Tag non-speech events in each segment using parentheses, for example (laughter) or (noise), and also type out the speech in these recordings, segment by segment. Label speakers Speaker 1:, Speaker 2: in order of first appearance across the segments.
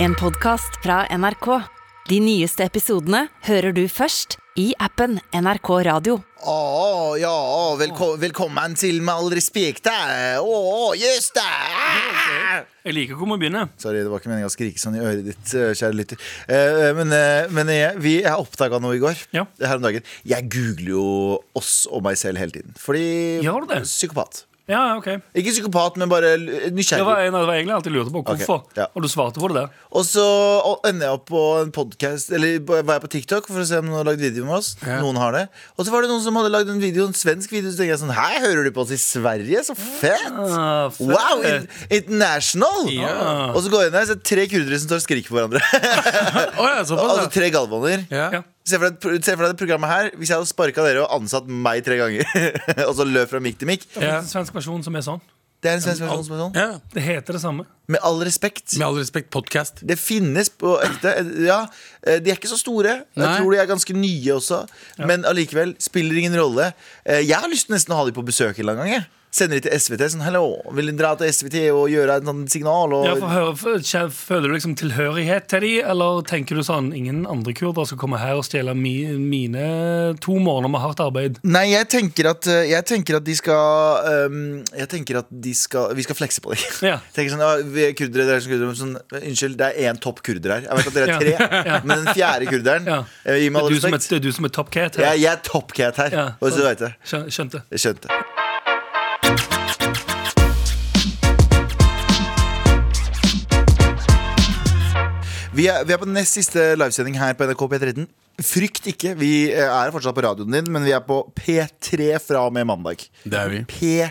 Speaker 1: En podcast fra NRK. De nyeste episodene hører du først i appen NRK Radio.
Speaker 2: Å, Ah, ja,
Speaker 3: Ah.
Speaker 2: velko velkommen til Med all respekt. eh. Å, just det! Ah!
Speaker 3: Jeg liker hvor vi begynner.
Speaker 2: Sorry, det var ikke meningen å skrike sånn i øret ditt, eh, kjære lytter. Eh, Men, eh, men jeg, vi, jeg oppdaga noe i går.
Speaker 3: Ja.
Speaker 2: Her om dagen. Jeg googler jo oss og meg selv hele tiden. Fordi
Speaker 3: Gjør du det?
Speaker 2: Psykopat.
Speaker 3: Ja, ok Det
Speaker 2: Ikke psykopat, men bare l- eh, nysgjerrig.
Speaker 3: var, en- det var egentlig alt jeg lurte på. Hvorfor?
Speaker 2: Ok, ja.
Speaker 3: Og du svarte på det der.
Speaker 2: Og så og ender jeg opp på en podcast Eller på- var jeg på TikTok for å se om noen har lagd video med oss.
Speaker 3: Ja.
Speaker 2: Noen har det Og så var det noen som hadde lagd en video, en svensk video. Så tenker jeg sånn Hei, hører du på oss i Sverige? Så fett!
Speaker 3: Ah, fett.
Speaker 2: Wow! In international!
Speaker 4: Ja.
Speaker 2: Og så går jeg inn der, så er det tre kurdere som står og skriker på hverandre.
Speaker 3: Eh,
Speaker 4: Å ja, såpass,
Speaker 2: altså tre galvaner.
Speaker 3: Ja.
Speaker 4: ja.
Speaker 2: Se for, deg, et- se for deg det programmet her Hvis jeg hadde sparka dere og ansatt meg tre ganger, (laughs) og så løp fra mikk til mikk
Speaker 3: Det er en svensk versjon som er sånn.
Speaker 2: Det er en svensk versjon som er sånn.
Speaker 4: ja.
Speaker 3: Det heter det samme.
Speaker 2: Med all respekt.
Speaker 4: Med all respekt, podkast.
Speaker 2: Det finnes på ekte. Ja, eh, de er ikke så store.
Speaker 4: Nei.
Speaker 2: Jeg tror de er ganske nye også. Men allikevel spiller ingen rolle. Eh, Jeg har lyst til nesten å ha de på besøk en eller annen gang. jeg. Sender de til SVT sånn Hello, vil dere dra til SVT og gjøre en sånn signal? Og...
Speaker 3: Ja, for, høre- for, kje- føler du liksom tilhørighet til de, eller tenker du sånn Ingen andre kurder skal komme her og stjele mi, mine to måneder med hardt arbeid.
Speaker 2: Nei, jeg tenker at, eh, jeg tenker at de skal ehm, Jeg tenker at de skal Vi skal flekse på dem.
Speaker 3: Ja.
Speaker 2: (laughs) Tenker sånn, ja, vi er kurdere, dere er som kurdere men sånn, Unnskyld, det er én topp kurder her. Jeg vet at dere er
Speaker 3: (laughs) Ja.
Speaker 2: tre, men den fjerde kurderen
Speaker 3: Ja.
Speaker 2: eh, Gi
Speaker 3: Det
Speaker 2: meg
Speaker 3: er
Speaker 2: all
Speaker 3: du som er,
Speaker 2: respekt.
Speaker 3: det er, du som er top cat her.
Speaker 2: Jeg, jeg er top cat her.
Speaker 3: Ja.
Speaker 2: Og så vet jeg.
Speaker 3: Skjø- Skjønte.
Speaker 2: Jeg skjønte. Vi er, vi er på den nest siste livesending her på NRK P13. Frykt ikke, vi eh, er fortsatt på radioen din, men vi er på P3 fra og med mandag.
Speaker 4: Det er vi.
Speaker 2: P3.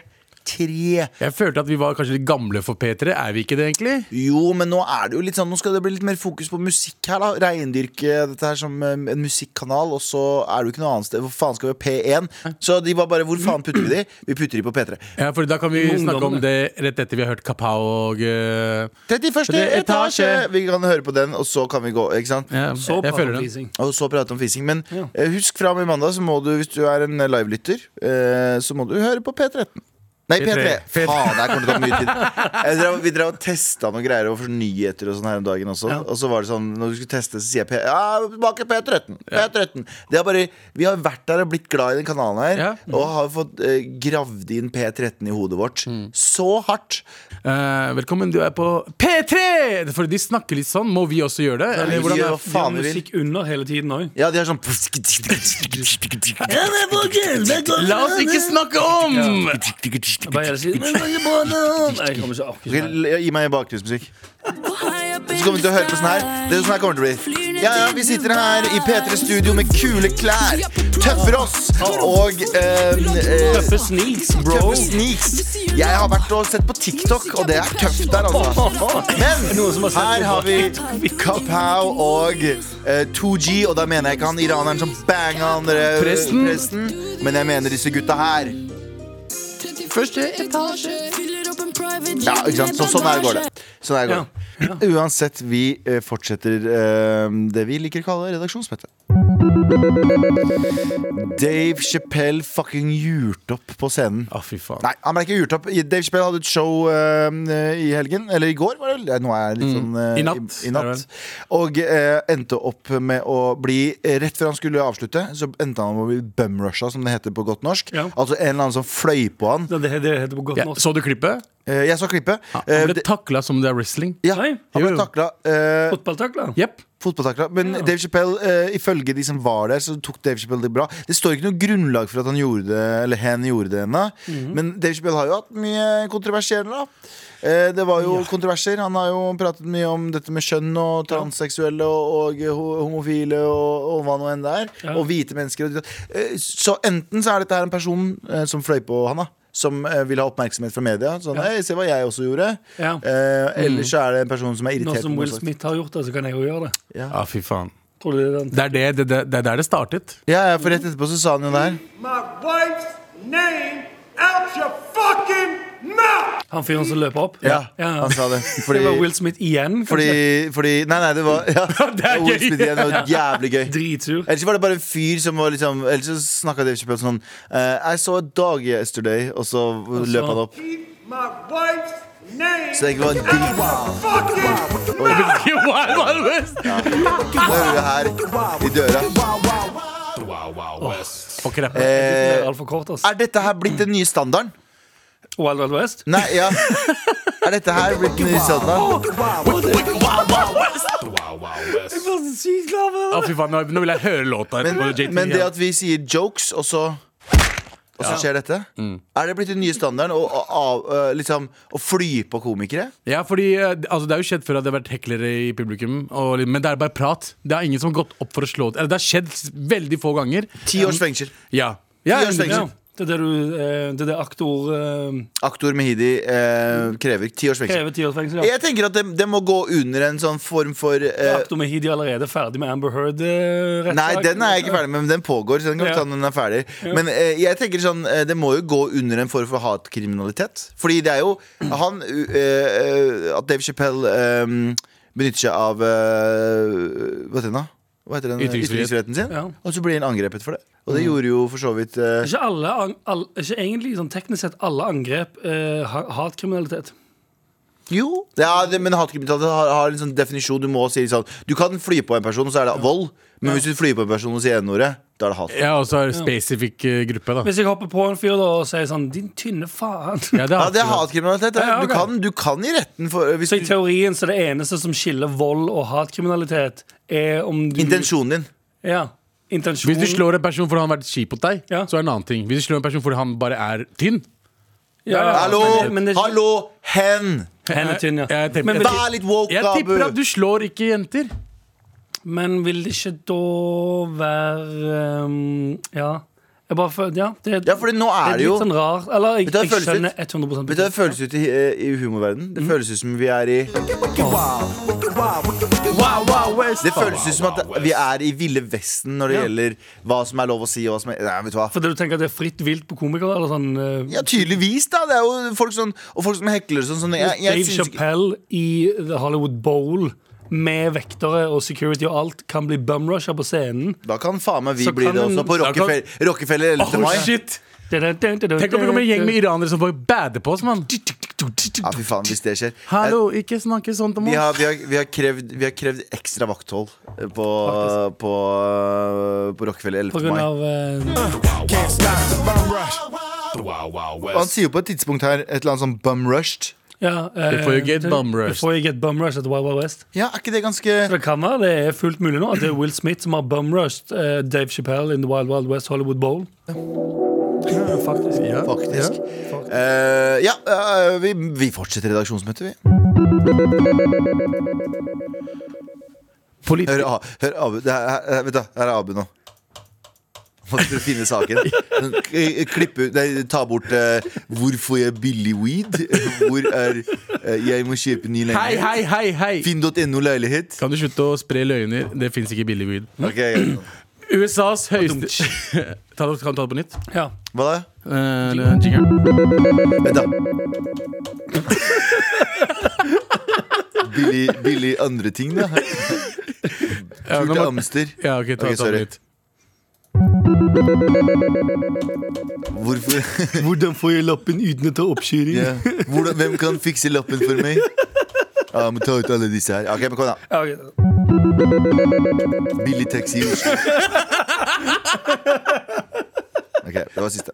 Speaker 4: Jeg følte at vi var kanskje litt gamle for P3. Er vi ikke det, egentlig?
Speaker 2: Jo, men nå er det jo litt sånn Nå skal det bli litt mer fokus på musikk her, da. Reindyrke dette her som eh, en musikkanal, og så er det jo ikke noe annet sted. Hvor faen skal vi ha P1? Så de var bare Hvor faen putter vi de? Vi putter de på P3.
Speaker 4: Ja, for da kan vi
Speaker 3: Med
Speaker 4: snakke om
Speaker 3: ungdommene.
Speaker 4: det rett etter vi har hørt Kapao og eh,
Speaker 2: 31.
Speaker 4: Det er
Speaker 2: etasje!
Speaker 4: etasje.
Speaker 2: Vi kan høre på den, og så kan vi gå. ikke sant?
Speaker 4: ja,
Speaker 3: Så
Speaker 4: Jeg føler det.
Speaker 3: parafising.
Speaker 2: Og så prate om fising. Men
Speaker 3: Ja.
Speaker 2: eh, husk fra og med mandag, så må du, hvis du er en livelytter, eh, så må du høre på P13. Nei, P3.
Speaker 4: P3.
Speaker 2: Faen, det her kommer til å ta mye tid. Jeg drev, vi drev og testa noen greier over sånn nyheter og sånn her om dagen også.
Speaker 3: Ja.
Speaker 2: Og så var det sånn, når du skulle teste, så sier jeg P ja, tilbake P13. P13. Det er bare, vi har vært der og blitt glad i den kanalen her,
Speaker 4: Ja.
Speaker 2: og har fått eh, gravd inn P13 i hodet vårt
Speaker 4: Mm.
Speaker 2: så hardt.
Speaker 4: Eh, velkommen, du er på P3! For de snakker litt sånn. Må vi også gjøre det?
Speaker 2: Vi
Speaker 4: Eller
Speaker 2: gjør
Speaker 4: hvordan er
Speaker 2: hva faen
Speaker 3: de
Speaker 2: vi
Speaker 3: har
Speaker 2: vil.
Speaker 3: musikk under hele tiden òg.
Speaker 2: Ja, de er sånn
Speaker 4: La oss ikke snakke om!
Speaker 3: Hva er det sier? Men, men, men, men. Nei, Jeg kommer ikke orker
Speaker 2: Ok,
Speaker 3: ikke.
Speaker 2: l- Gi meg bakgrunnsmusikk. Så kommer vi til å høre på sånn her. Det er sånn her kommer det til å bli. Ja, ja, vi sitter her i P3 Studio med kule klær. Tøffer oss og ehm, eh,
Speaker 3: Tøffe sneaks, bro.
Speaker 2: Tøffe sneaks. Jeg har vært og sett på TikTok, og det er tøft der, altså.
Speaker 3: Noen som
Speaker 2: Men
Speaker 3: har sett
Speaker 2: her
Speaker 3: på
Speaker 2: har vi Kapow og eh, 2G, og da mener jeg ikke han iraneren som banga han der, eh,
Speaker 4: Presten.
Speaker 2: presten, men jeg mener disse gutta her.
Speaker 4: Første etasje.
Speaker 2: Ja, ikke sant? Så, sånn her går det. Sånn her går
Speaker 3: Ja.
Speaker 2: det. Uansett, vi eh, fortsetter eh, det vi liker å kalle redaksjonsmøte. Dave Chappelle fucking gjort opp på scenen.
Speaker 4: Å, fy faen.
Speaker 2: Nei, han ble ikke gjort opp. Dave Chappelle hadde et show eh, i helgen. Eller i går, var det vel? Ja, Nå er jeg litt sånn eh,
Speaker 4: Mm. I
Speaker 2: I,
Speaker 4: natt,
Speaker 2: i
Speaker 4: er
Speaker 2: natt.
Speaker 4: det
Speaker 2: Og eh, endte opp med å bli eh, Rett før han skulle avslutte, så endte han med å bli bumrusha, som det heter på godt norsk.
Speaker 3: Ja.
Speaker 2: Altså en eller annen som fløy på han.
Speaker 3: Det, det, det heter på godt
Speaker 4: Ja,
Speaker 3: norsk.
Speaker 4: så du klippet?
Speaker 2: Eh, jeg så klippet. Eh,
Speaker 4: Han ble
Speaker 2: det-
Speaker 4: takla som det er wrestling.
Speaker 2: ja,
Speaker 3: Nei.
Speaker 2: han ble
Speaker 4: Jo, jo.
Speaker 2: takla. eh,
Speaker 3: Fotballtakler?
Speaker 4: Jepp.
Speaker 2: Fotballtakla. Men Dave Chappelle, eh, ifølge de som var der, så tok Dave Chappelle det bra. Det står ikke noe grunnlag for at han gjorde det, eller hen gjorde det ennå.
Speaker 3: Mhm.
Speaker 2: Men Dave Chappelle har jo hatt mye kontroversielle, da. Eh, det var jo kontroverser. Han har jo pratet mye om dette med kjønn og transseksuelle og, og ho- homofile og, og hva nå enn det er.
Speaker 3: Ja.
Speaker 2: Og hvite mennesker. Og, ditt og- eh, så enten så er dette her en person eh, som fløy på han, da. Som eh, vil ha oppmerksomhet fra media. Sånn, «Hei, se hva jeg også gjorde.
Speaker 3: Ja.
Speaker 2: Eh, eller så er det en person som er
Speaker 3: Mm. Nå
Speaker 2: irritert.
Speaker 3: som
Speaker 2: på noe
Speaker 3: Will
Speaker 2: slags-
Speaker 3: Smith har gjort det, så kan jeg jo gjøre det.
Speaker 2: Ja.
Speaker 4: Ja, fy faen.
Speaker 3: Tror du det er den?
Speaker 4: Det er det, det, det, det er der det startet.
Speaker 2: Ja, ja, for rett etterpå så sa han jo det her.
Speaker 5: my wife's name out your fucking mouth!
Speaker 3: Han fyren som løper opp?
Speaker 2: Ja, han sa det. Fordi,
Speaker 3: det var Will Smith igjen,
Speaker 2: fordi,
Speaker 3: (laughs) kanskje?
Speaker 2: fordi Nei, nei, det var ja,
Speaker 4: Det er
Speaker 2: Will
Speaker 4: gøy.
Speaker 2: Smith igjen, det var jævlig gøy.
Speaker 3: (laughs)
Speaker 2: Eh,
Speaker 3: Dritsur.
Speaker 2: Ellers var det bare en fyr som var liksom Ellers så snakka Dave Chappelle sånn eh, I saw a dog yesterday, og så løp han opp.
Speaker 5: Keep my wife's name
Speaker 2: Så det ikke var D-Wow.
Speaker 5: fucking
Speaker 4: (laughs) Wild Wild West!
Speaker 2: Da hører du her i døra.
Speaker 4: Får ikke rappe.
Speaker 3: Det
Speaker 2: Eh,
Speaker 3: er altfor kort, ass.
Speaker 2: er dette her blitt den nye standarden?
Speaker 3: Wild Wild West?
Speaker 2: Nei, ja. Er dette her blitt den nye standarden?
Speaker 4: Å, fy faen, nå- nå vil jeg høre låta.
Speaker 2: Men,
Speaker 4: etterpå, JT,
Speaker 2: men det
Speaker 4: ja.
Speaker 2: at vi sier jokes, og så og så skjer dette? Er det blitt den nye standarden å, å, av- eh, liksom, å fly på komikere?
Speaker 4: Ja, fordi eh, altså, Det er jo skjedd før at det har vært heklere i publikum, og, men det er bare prat. Det er ingen som har gått opp for å slå Eller det har skjedd s- veldig få ganger.
Speaker 2: Ti års fengsel.
Speaker 4: Ja. ja,
Speaker 2: Ti års
Speaker 4: ja.
Speaker 2: fengsel.
Speaker 3: Ja. Det er det du eh, Det er det aktor eh,
Speaker 2: Aktor Mehidi eh, krever ti års fengsel.
Speaker 3: krever ti års fengsel. Ja.
Speaker 2: Jeg tenker at det, det må gå under en sånn form for eh,
Speaker 3: Aktor Mehidi er allerede ferdig med Amber eh, (laughs) Heard-rettssak.
Speaker 2: Nei, den er jeg ikke ferdig med, men den pågår. Så den kan vi
Speaker 3: Ja.
Speaker 2: ta når den er ferdig Men eh, jeg tenker sånn, eh, det må jo gå under en form for hatkriminalitet. Fordi det er jo han eh, eh, At Dave Chappelle eh, benytter seg av eh, Hva heter den da? Hva heter den? eh,
Speaker 4: Ytringsfrihet.
Speaker 2: Ytringsfriheten sin.
Speaker 3: Ja. Mm.
Speaker 2: Og så blir han angrepet for det. Og det gjorde jo for så vidt eh,
Speaker 3: Ikke alle, an- all, ikke egentlig sånn teknisk sett alle angrep eh, ha- hatkriminalitet.
Speaker 2: Jo. Ja, det, men hatkriminalitet har, har en sånn definisjon. Du må si sånn Du kan fly på en person, og så er det vold. Men hvis du flyr på en person og sier n-ordet, da er det hat.
Speaker 4: ja og så er det spesifikk eh, gruppe, da.
Speaker 3: Hvis jeg hopper på en fyr da og sier sånn 'din tynne faen'
Speaker 4: Ja, det
Speaker 2: Ja, det er
Speaker 4: hatkrim.
Speaker 2: hatkriminalitet.
Speaker 3: Ja,
Speaker 2: Ja.
Speaker 3: ja,
Speaker 2: Du,
Speaker 3: ok.
Speaker 2: kan, du kan i retten for hvis
Speaker 3: Så i
Speaker 2: du,
Speaker 3: teorien så er det eneste som skiller vold og hatkriminalitet, er om du
Speaker 2: Intensjonen din.
Speaker 3: Ja, intensjon
Speaker 4: Hvis du slår en person fordi han har vært kjip mot deg,
Speaker 3: Ja.
Speaker 4: så er det en annen ting. Hvis du slår en person fordi han bare er tynn
Speaker 3: ja, ja,
Speaker 2: Hallo!
Speaker 3: men det- men det er ikke-
Speaker 2: Hallo, hen!
Speaker 3: Hen er tynn, ja.
Speaker 4: eh, Jeg tipper-
Speaker 3: Men vil,
Speaker 2: Vær litt woke,
Speaker 4: Jeg tipper at
Speaker 2: Abu!
Speaker 4: du slår ikke jenter.
Speaker 3: men vil det ikke da være ehm, Ja. Jeg bare føler Ja, det,
Speaker 2: Ja, fordi nå er
Speaker 3: det
Speaker 2: det jo
Speaker 3: litt sånn rart. Eller jeg,
Speaker 2: Vet du hva det
Speaker 3: jeg
Speaker 2: føles
Speaker 3: skjønner
Speaker 2: ut? Vet
Speaker 3: 100
Speaker 2: du hva det føles ut i, eh, i humorverden?
Speaker 3: Mm.
Speaker 2: Det føles ut som vi er i Det føles ut som at vi er i Ville Vesten når det
Speaker 3: Ja.
Speaker 2: gjelder hva som er lov å si og hva som er Nei, vet du hva.
Speaker 3: Fordi du tenker at det er fritt vilt på komikere? Eller sånn eh,
Speaker 2: Ja, tydeligvis, da. Det er jo folk sånn, og folk som hekler og sånn. sånn jeg, jeg
Speaker 3: Dave
Speaker 2: syns ikke
Speaker 3: Chappelle i The Hollywood Bowl med vektere og security og alt kan bli bumrusha på scenen.
Speaker 2: Da kan faen meg vi
Speaker 3: Så
Speaker 2: bli
Speaker 3: kan
Speaker 2: det
Speaker 3: en-
Speaker 2: også, på
Speaker 3: da
Speaker 4: kan-
Speaker 2: Rockefeller, Rockefeller 11. mai.
Speaker 4: shit
Speaker 3: Tenk
Speaker 4: Tenk om det kommer en gjeng med iranere som bare bader på oss, mann.
Speaker 2: Ja, fy faen, hvis det skjer.
Speaker 4: Hallo, ikke snakke sånn til
Speaker 2: Vi
Speaker 4: meg.
Speaker 2: har, vi, har, vi, har krevd, vi har krevd ekstra vakthold eh, på, på, eh, på Rockefeller 11.
Speaker 3: På grunn
Speaker 2: mai.
Speaker 3: av eh,
Speaker 2: Og Han sier jo på et tidspunkt her et eller annet sånn bum rushed.
Speaker 3: ja, eh,
Speaker 4: Before you get
Speaker 3: det-
Speaker 4: bum rushed.
Speaker 3: Before you get bum rushed at Wild Wild West.
Speaker 2: Ja, er ikke det ganske
Speaker 3: Det kan være det er fullt mulig nå at det er Will Smith som har bum rushed eh, Dave Chappelle in The Wild Wild West Hollywood Bowl. Ja, faktisk.
Speaker 2: Faktisk. Eh, ja, eh, vi, vi fortsetter redaksjonsmøtet, vi. Hør,
Speaker 4: Politi-
Speaker 2: A- hør Abu. Det her, her- vet du, her er Abu nå. Måtte finne saken. K- Klippe ut Nei, ta bort eh, 'Hvor får jeg billig weed?' Hvor er eh, 'Jeg må kjøpe ny
Speaker 4: Hei,
Speaker 2: leilighet'?
Speaker 4: hei, hei, hei.
Speaker 2: Finn.no leilighet.
Speaker 4: Kan du slutte å spre løgner? Det fins ikke billig weed.
Speaker 2: Ok, greit.
Speaker 4: USAs høyeste (laughs) ta, det- Kan du ta det på nytt?
Speaker 3: Ja.
Speaker 2: Hva da?
Speaker 4: Eh, det- jingle.
Speaker 2: Vent da billig, billig andre ting da Tur
Speaker 4: Ja, nå
Speaker 2: til
Speaker 4: må-
Speaker 2: Amster
Speaker 4: ja, ok, ta,
Speaker 2: Ok,
Speaker 4: ta det på
Speaker 2: sorry.
Speaker 4: nytt.
Speaker 2: Hvorfor,
Speaker 3: Hvordan får jeg lappen uten å ta oppkjøring?
Speaker 2: ja. Hvordan, Hvem kan fikse lappen for meg? Ja, men ta ut alle disse her Ok, men kom da
Speaker 3: Ja, ok.
Speaker 2: Billig taxi i Oslo Ok, det var siste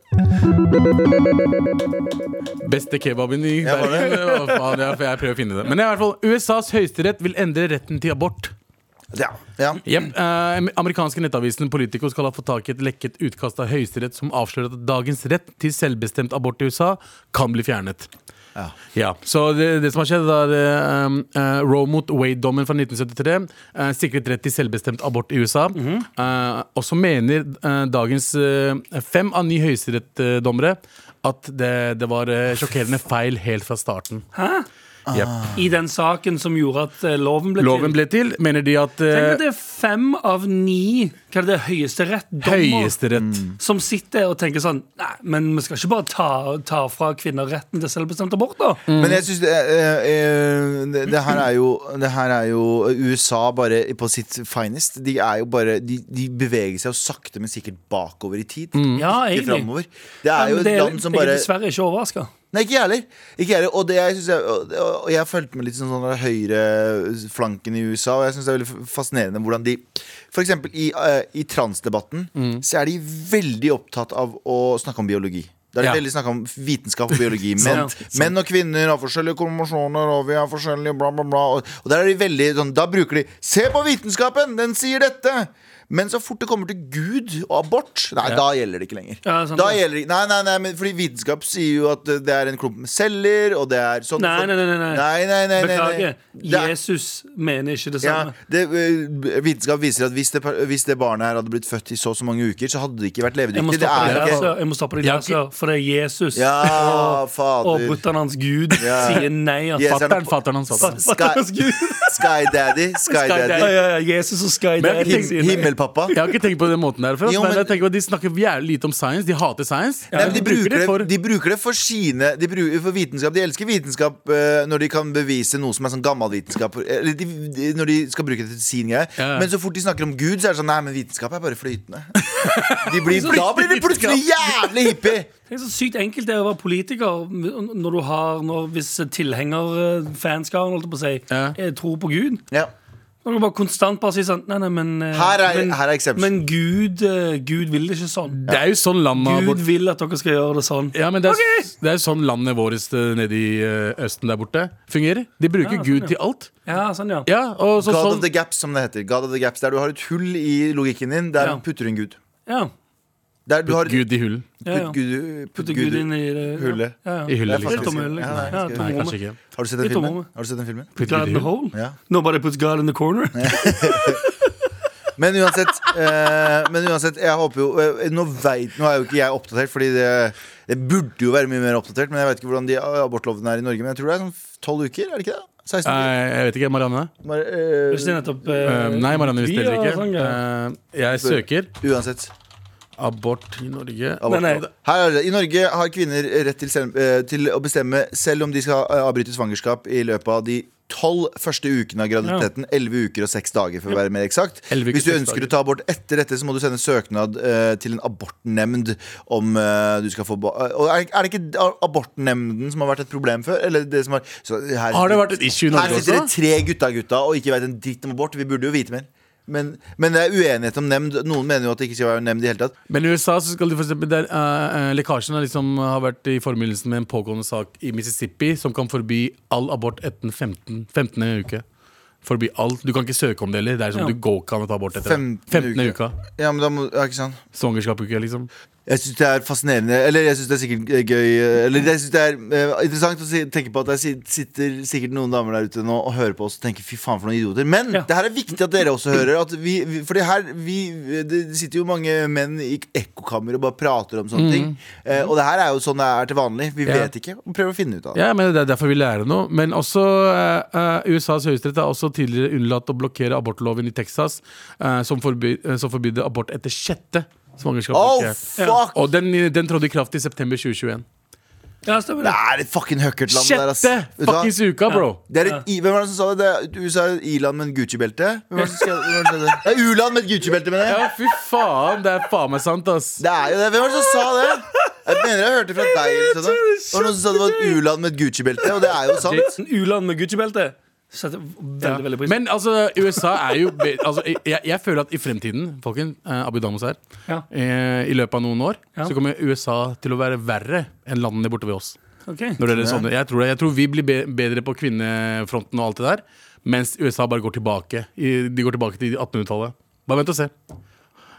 Speaker 4: Beste kebaben i
Speaker 2: Ja, var det?
Speaker 4: verden. (laughs) Å, faen, ja, for jeg prøver å finne det. Men i hvert fall, USAs høyesterett vil endre retten til abort.
Speaker 2: Ja, ja.
Speaker 4: Jep, eh, amerikanske nettavisen Politico skal ha fått tak i et lekket utkast av Høyesterett som avslører at dagens rett til selvbestemt abort i USA kan bli fjernet.
Speaker 2: Ja.
Speaker 4: Så det, det som har skjedd, er eh, um, eh, Roe mot Wade-dommen fra 1973 eh, sikret rett til selvbestemt abort i USA. Eh, og så mener eh, dagens eh, fem av ni høyesterettsdommere at det, det var eh, sjokkerende feil helt fra starten. Jep.
Speaker 3: I den saken som gjorde at eh, loven ble
Speaker 4: Loven
Speaker 3: til.
Speaker 4: ble til, mener de at
Speaker 3: Tenk
Speaker 4: eh,
Speaker 3: at det er fem av ni Hva er det, høyesterett-dommer
Speaker 4: Høyesterett
Speaker 3: som sitter og tenker sånn Nei, men vi skal ikke bare ta, ta fra kvinner retten til selvbestemt abort, da.
Speaker 4: Mm.
Speaker 2: Men jeg synes det, eh, eh, det, det, her er jo, det her er jo eh, USA bare på sitt finest. De, er jo bare, de, de beveger seg jo sakte, men sikkert bakover i tid.
Speaker 3: Mhm. Ja,
Speaker 2: Ikke
Speaker 3: egentlig.
Speaker 2: fremover. Det er jo
Speaker 3: Men
Speaker 2: et
Speaker 3: det-
Speaker 2: land som
Speaker 3: Jeg
Speaker 2: bare
Speaker 3: er dessverre ikke overraska.
Speaker 2: Nei, ikke jeg heller. Ikke jeg heller. Og, det, jeg synes jeg, og, og jeg har fulgt med litt sånn, sånn høyreflanken i USA, og jeg syns det er veldig fascinerende hvordan de For eksempel i, eh, i transdebatten
Speaker 3: Mm.
Speaker 2: så er de veldig opptatt av å snakke om biologi. Da er det
Speaker 4: Ja.
Speaker 2: veldig snakk om vitenskap og biologi. Men,
Speaker 3: (laughs) Sant, sant.
Speaker 2: menn og kvinner har forskjellige konvensjoner, og vi har forskjellige bla, bla, bla. Og, og der er de veldig sånn Da bruker de 'Se på vitenskapen! Den sier dette!' Men så fort det kommer til Gud og abort, nei, da gjelder det ikke lenger.
Speaker 3: Ja, sant
Speaker 2: da
Speaker 3: det.
Speaker 2: gjelder det ikke Nei, nei, nei, men fordi vitenskap sier jo at det er en klump med celler, og det er sånn
Speaker 3: Nei, nei, nei, nei, nei.
Speaker 2: nei, nei, nei, nei, nei.
Speaker 3: Beklager.
Speaker 2: Det er-
Speaker 3: Jesus mener ikke det
Speaker 2: ja,
Speaker 3: samme.
Speaker 2: det, øh, vitenskap viser at hvis det, par- hvis det barnet her hadde blitt født i så og så mange uker, så hadde det ikke vært
Speaker 3: Jeg må
Speaker 2: levedyktig. Det
Speaker 3: stoppe altså. deg
Speaker 2: er
Speaker 3: der,
Speaker 2: ikke
Speaker 3: sør. Jeg må stoppe deg
Speaker 4: Ja,
Speaker 3: der, sør. For det er Jesus.
Speaker 2: Ja, fader.
Speaker 3: Og brutter'n hans gud
Speaker 2: Ja.
Speaker 3: sier nei. Altså.
Speaker 2: Yes,
Speaker 4: Fatter'n, fatter'n hans. fatter'n.
Speaker 2: Sky-
Speaker 3: Brutter'n hans gud.
Speaker 2: Sky Daddy. Sky
Speaker 4: Daddy.
Speaker 3: Ja,
Speaker 2: Daddy.
Speaker 3: ja, ja, Jesus og Sky
Speaker 4: Men jeg
Speaker 3: Daddy
Speaker 4: tenker-
Speaker 2: Him,
Speaker 3: sier nei.
Speaker 2: himmelpappa.
Speaker 4: Jeg har ikke tenkt på den måten der før. ass,
Speaker 2: Jo,
Speaker 4: men
Speaker 2: men-
Speaker 4: jeg tenker på at De snakker jævlig lite om science. De hater science.
Speaker 2: Nei, men de, bruker det,
Speaker 4: for
Speaker 2: de bruker det for sine de bruker, For vitenskap, de elsker vitenskap eh, Når de kan bevise noe som er sånn gammel vitenskap Eller de, de, når de skal bruke det til sin greie
Speaker 4: Ja, ja.
Speaker 2: Men så fort de snakker om Gud Så er det sånn, nei, men vitenskap er bare flytende de blir, Da blir de plutselig jævlig hippie
Speaker 3: Det er så sykt enkelt det å være politiker når du har når, Hvis tilhengerfanskaren holdt jeg på å si,
Speaker 4: Ja.
Speaker 3: eh, tror på Gud.
Speaker 2: ja.
Speaker 3: Når du bare konstant bare sier sånn Nei, nei, men eh,
Speaker 2: Her er-
Speaker 3: men,
Speaker 2: her er exception.
Speaker 3: men Gud, eh, Gud vil det ikke sånn.
Speaker 4: Det er jo sånn landet
Speaker 3: Gud
Speaker 4: vårt
Speaker 3: vil at dere skal gjøre det sånn.
Speaker 4: ja, men det, er,
Speaker 3: Ok.
Speaker 4: det er jo sånn landet vårt eh, nede i eh, Østen der borte fungerer. De bruker
Speaker 3: Ja, sånn,
Speaker 4: Gud
Speaker 3: ja.
Speaker 4: til alt.
Speaker 3: Ja, sånn, ja.
Speaker 4: Ja, og så,
Speaker 2: God
Speaker 4: sånn,
Speaker 2: of the gaps, som det heter God of the gaps, Der du har et hull i logikken din Der
Speaker 3: Ja.
Speaker 2: putter du en Gud
Speaker 3: ja.
Speaker 2: Der du har
Speaker 4: Gud i hullen.
Speaker 3: Ja, ja.
Speaker 2: putt Gud, putt
Speaker 3: Putte
Speaker 2: Gud
Speaker 3: Gud inn i det.
Speaker 2: hullet.
Speaker 3: Ja, ja.
Speaker 4: I
Speaker 2: Det er
Speaker 4: hullet,
Speaker 3: Det er
Speaker 4: liksom.
Speaker 2: faktisk-
Speaker 3: tomme hull,
Speaker 2: Ja,
Speaker 3: liksom.
Speaker 2: nei,
Speaker 3: Ja,
Speaker 2: skal-
Speaker 4: Nei,
Speaker 3: tomrommet.
Speaker 4: kanskje ikke.
Speaker 2: Har du sett den
Speaker 3: Litt
Speaker 2: filmen?
Speaker 3: omvendt.
Speaker 2: Har du sett den filmen?
Speaker 4: Putter
Speaker 3: God
Speaker 4: Gud
Speaker 3: in
Speaker 4: i
Speaker 3: the
Speaker 4: hullen.
Speaker 3: hole.
Speaker 2: Ja.
Speaker 3: Nobody puts God in the corner.
Speaker 2: Men uansett, eh, men uansett jeg håper jo eh, Nå, vet, nå er jo ikke jeg oppdatert, Fordi det, det burde jo være mye mer oppdatert. Men jeg vet ikke hvordan de abortlovene er i Norge. Men jeg tror det er sånn tolv uker, er det ikke det? 16
Speaker 4: Nei,
Speaker 2: uker?
Speaker 4: jeg vet ikke. Marianne?
Speaker 2: Bare, eh,
Speaker 3: Hvis det er nettopp
Speaker 4: Eh,
Speaker 3: eh,
Speaker 4: nei, Marianne visste
Speaker 3: vi
Speaker 4: heller
Speaker 3: og
Speaker 4: ikke.
Speaker 3: sånn greier.
Speaker 4: Eh, jeg søker
Speaker 2: uansett.
Speaker 4: abort i Norge.
Speaker 2: Abort.
Speaker 3: Nei, nei.
Speaker 2: Her er det. I Norge har kvinner rett til, selv, eh, til å bestemme selv om de skal eh, avbryte svangerskap i løpet av de tolv første ukene av graviditeten. Elleve uker og seks dager, for å være mer eksakt.
Speaker 4: Elleve uker,
Speaker 2: Hvis du
Speaker 4: seks
Speaker 2: ønsker
Speaker 4: dager.
Speaker 2: å ta abort etter dette, så må du sende søknad eh, til en abortnemnd om eh, du skal få ba Og er, er det ikke a- abortnemnden som har vært et problem før? Eller det som har så her,
Speaker 4: Har det vært et issue i
Speaker 2: Her
Speaker 4: Norge
Speaker 2: sitter det
Speaker 4: også?
Speaker 2: tre gutta-gutta og ikke veit en dritt om abort. Vi burde jo vite mer. Men, men det er uenighet om nemnd. Noen mener jo at det ikke skal være nemnd i hele tatt.
Speaker 4: Men i USA så skal de for eksempel der, eh, eh, Lekkasjen har liksom har vært i formiddelsen med en pågående sak i Mississippi som kan forby all abort etter 15. 15. uke. Forby alt. Du kan ikke søke om det heller. Det er som
Speaker 3: Ja.
Speaker 4: du går ikke an å ta abort etter.
Speaker 2: 15.
Speaker 4: 15.
Speaker 2: uke.
Speaker 4: uka.
Speaker 2: Ja, men da må Ja, ikke sant?
Speaker 4: Svangerskapsuke, liksom.
Speaker 2: Jeg syns det er fascinerende Eller jeg syns det er sikkert eh, gøy eh, Eller jeg synes det er eh, interessant å si, tenke på at det sit- sitter sikkert noen damer der ute nå og hører på oss og tenker fy faen for noen idioter. Men
Speaker 3: Ja.
Speaker 2: det her er viktig at dere også hører. At vi, vi, fordi her vi, Det sitter jo mange menn i ekkokammer og bare prater om
Speaker 4: Mm.
Speaker 2: sånne ting. Eh, og det her er jo sånn det er til vanlig. Vi vet ikke. Og prøver å finne ut av det.
Speaker 4: Ja, men Det er derfor vi lærer noe. Men også eh, eh, USAs høyesterett har også tidligere unnlatt å blokkere abortloven i Texas, eh, som, forby, eh, som forbydde abort etter sjette
Speaker 2: Oh,
Speaker 4: svangerskapsuke.
Speaker 2: fuck!
Speaker 4: Og den, den trådte i kraft i september 2021.
Speaker 3: Ja, stemmer
Speaker 2: Det
Speaker 3: det.
Speaker 2: er et fucking høkkertland der, ass.
Speaker 4: Sjette
Speaker 2: Vet du hva?
Speaker 4: fuckings uka, bro!
Speaker 2: Det er et, i- Hvem var det som sa det? det er, USA er et i-land med en Gucci-belte? Hvem var det som skrev- hvem var det som sa det? Det
Speaker 4: (laughs)
Speaker 2: er u-land med et Gucci-belte, mener jeg.
Speaker 4: Ja, fy faen. Det er faen meg sant, ass.
Speaker 2: Det er jo det. Hvem var det som sa det? Jeg mener jeg hørte fra deg. Eller sånn. noe. Det var noen som sa det var et u-land med et Gucci-belte, og det er jo sant.
Speaker 3: En U-land med Gucci-belte. Setter veldig, veldig pris på.
Speaker 4: Men altså, USA er jo be- altså, jeg, jeg føler at i fremtiden, folkens, eh, Abu Damos her,
Speaker 3: Ja.
Speaker 4: eh, i løpet av noen år,
Speaker 3: Ja.
Speaker 4: så kommer USA til å være verre enn landene borte ved oss.
Speaker 3: Ok.
Speaker 4: Når det gjelder sånne. Jeg, tror det, jeg tror vi blir be- bedre på kvinnefronten og alt det der, mens USA bare går tilbake. I, de går tilbake til 1800-tallet. Bare vent og se.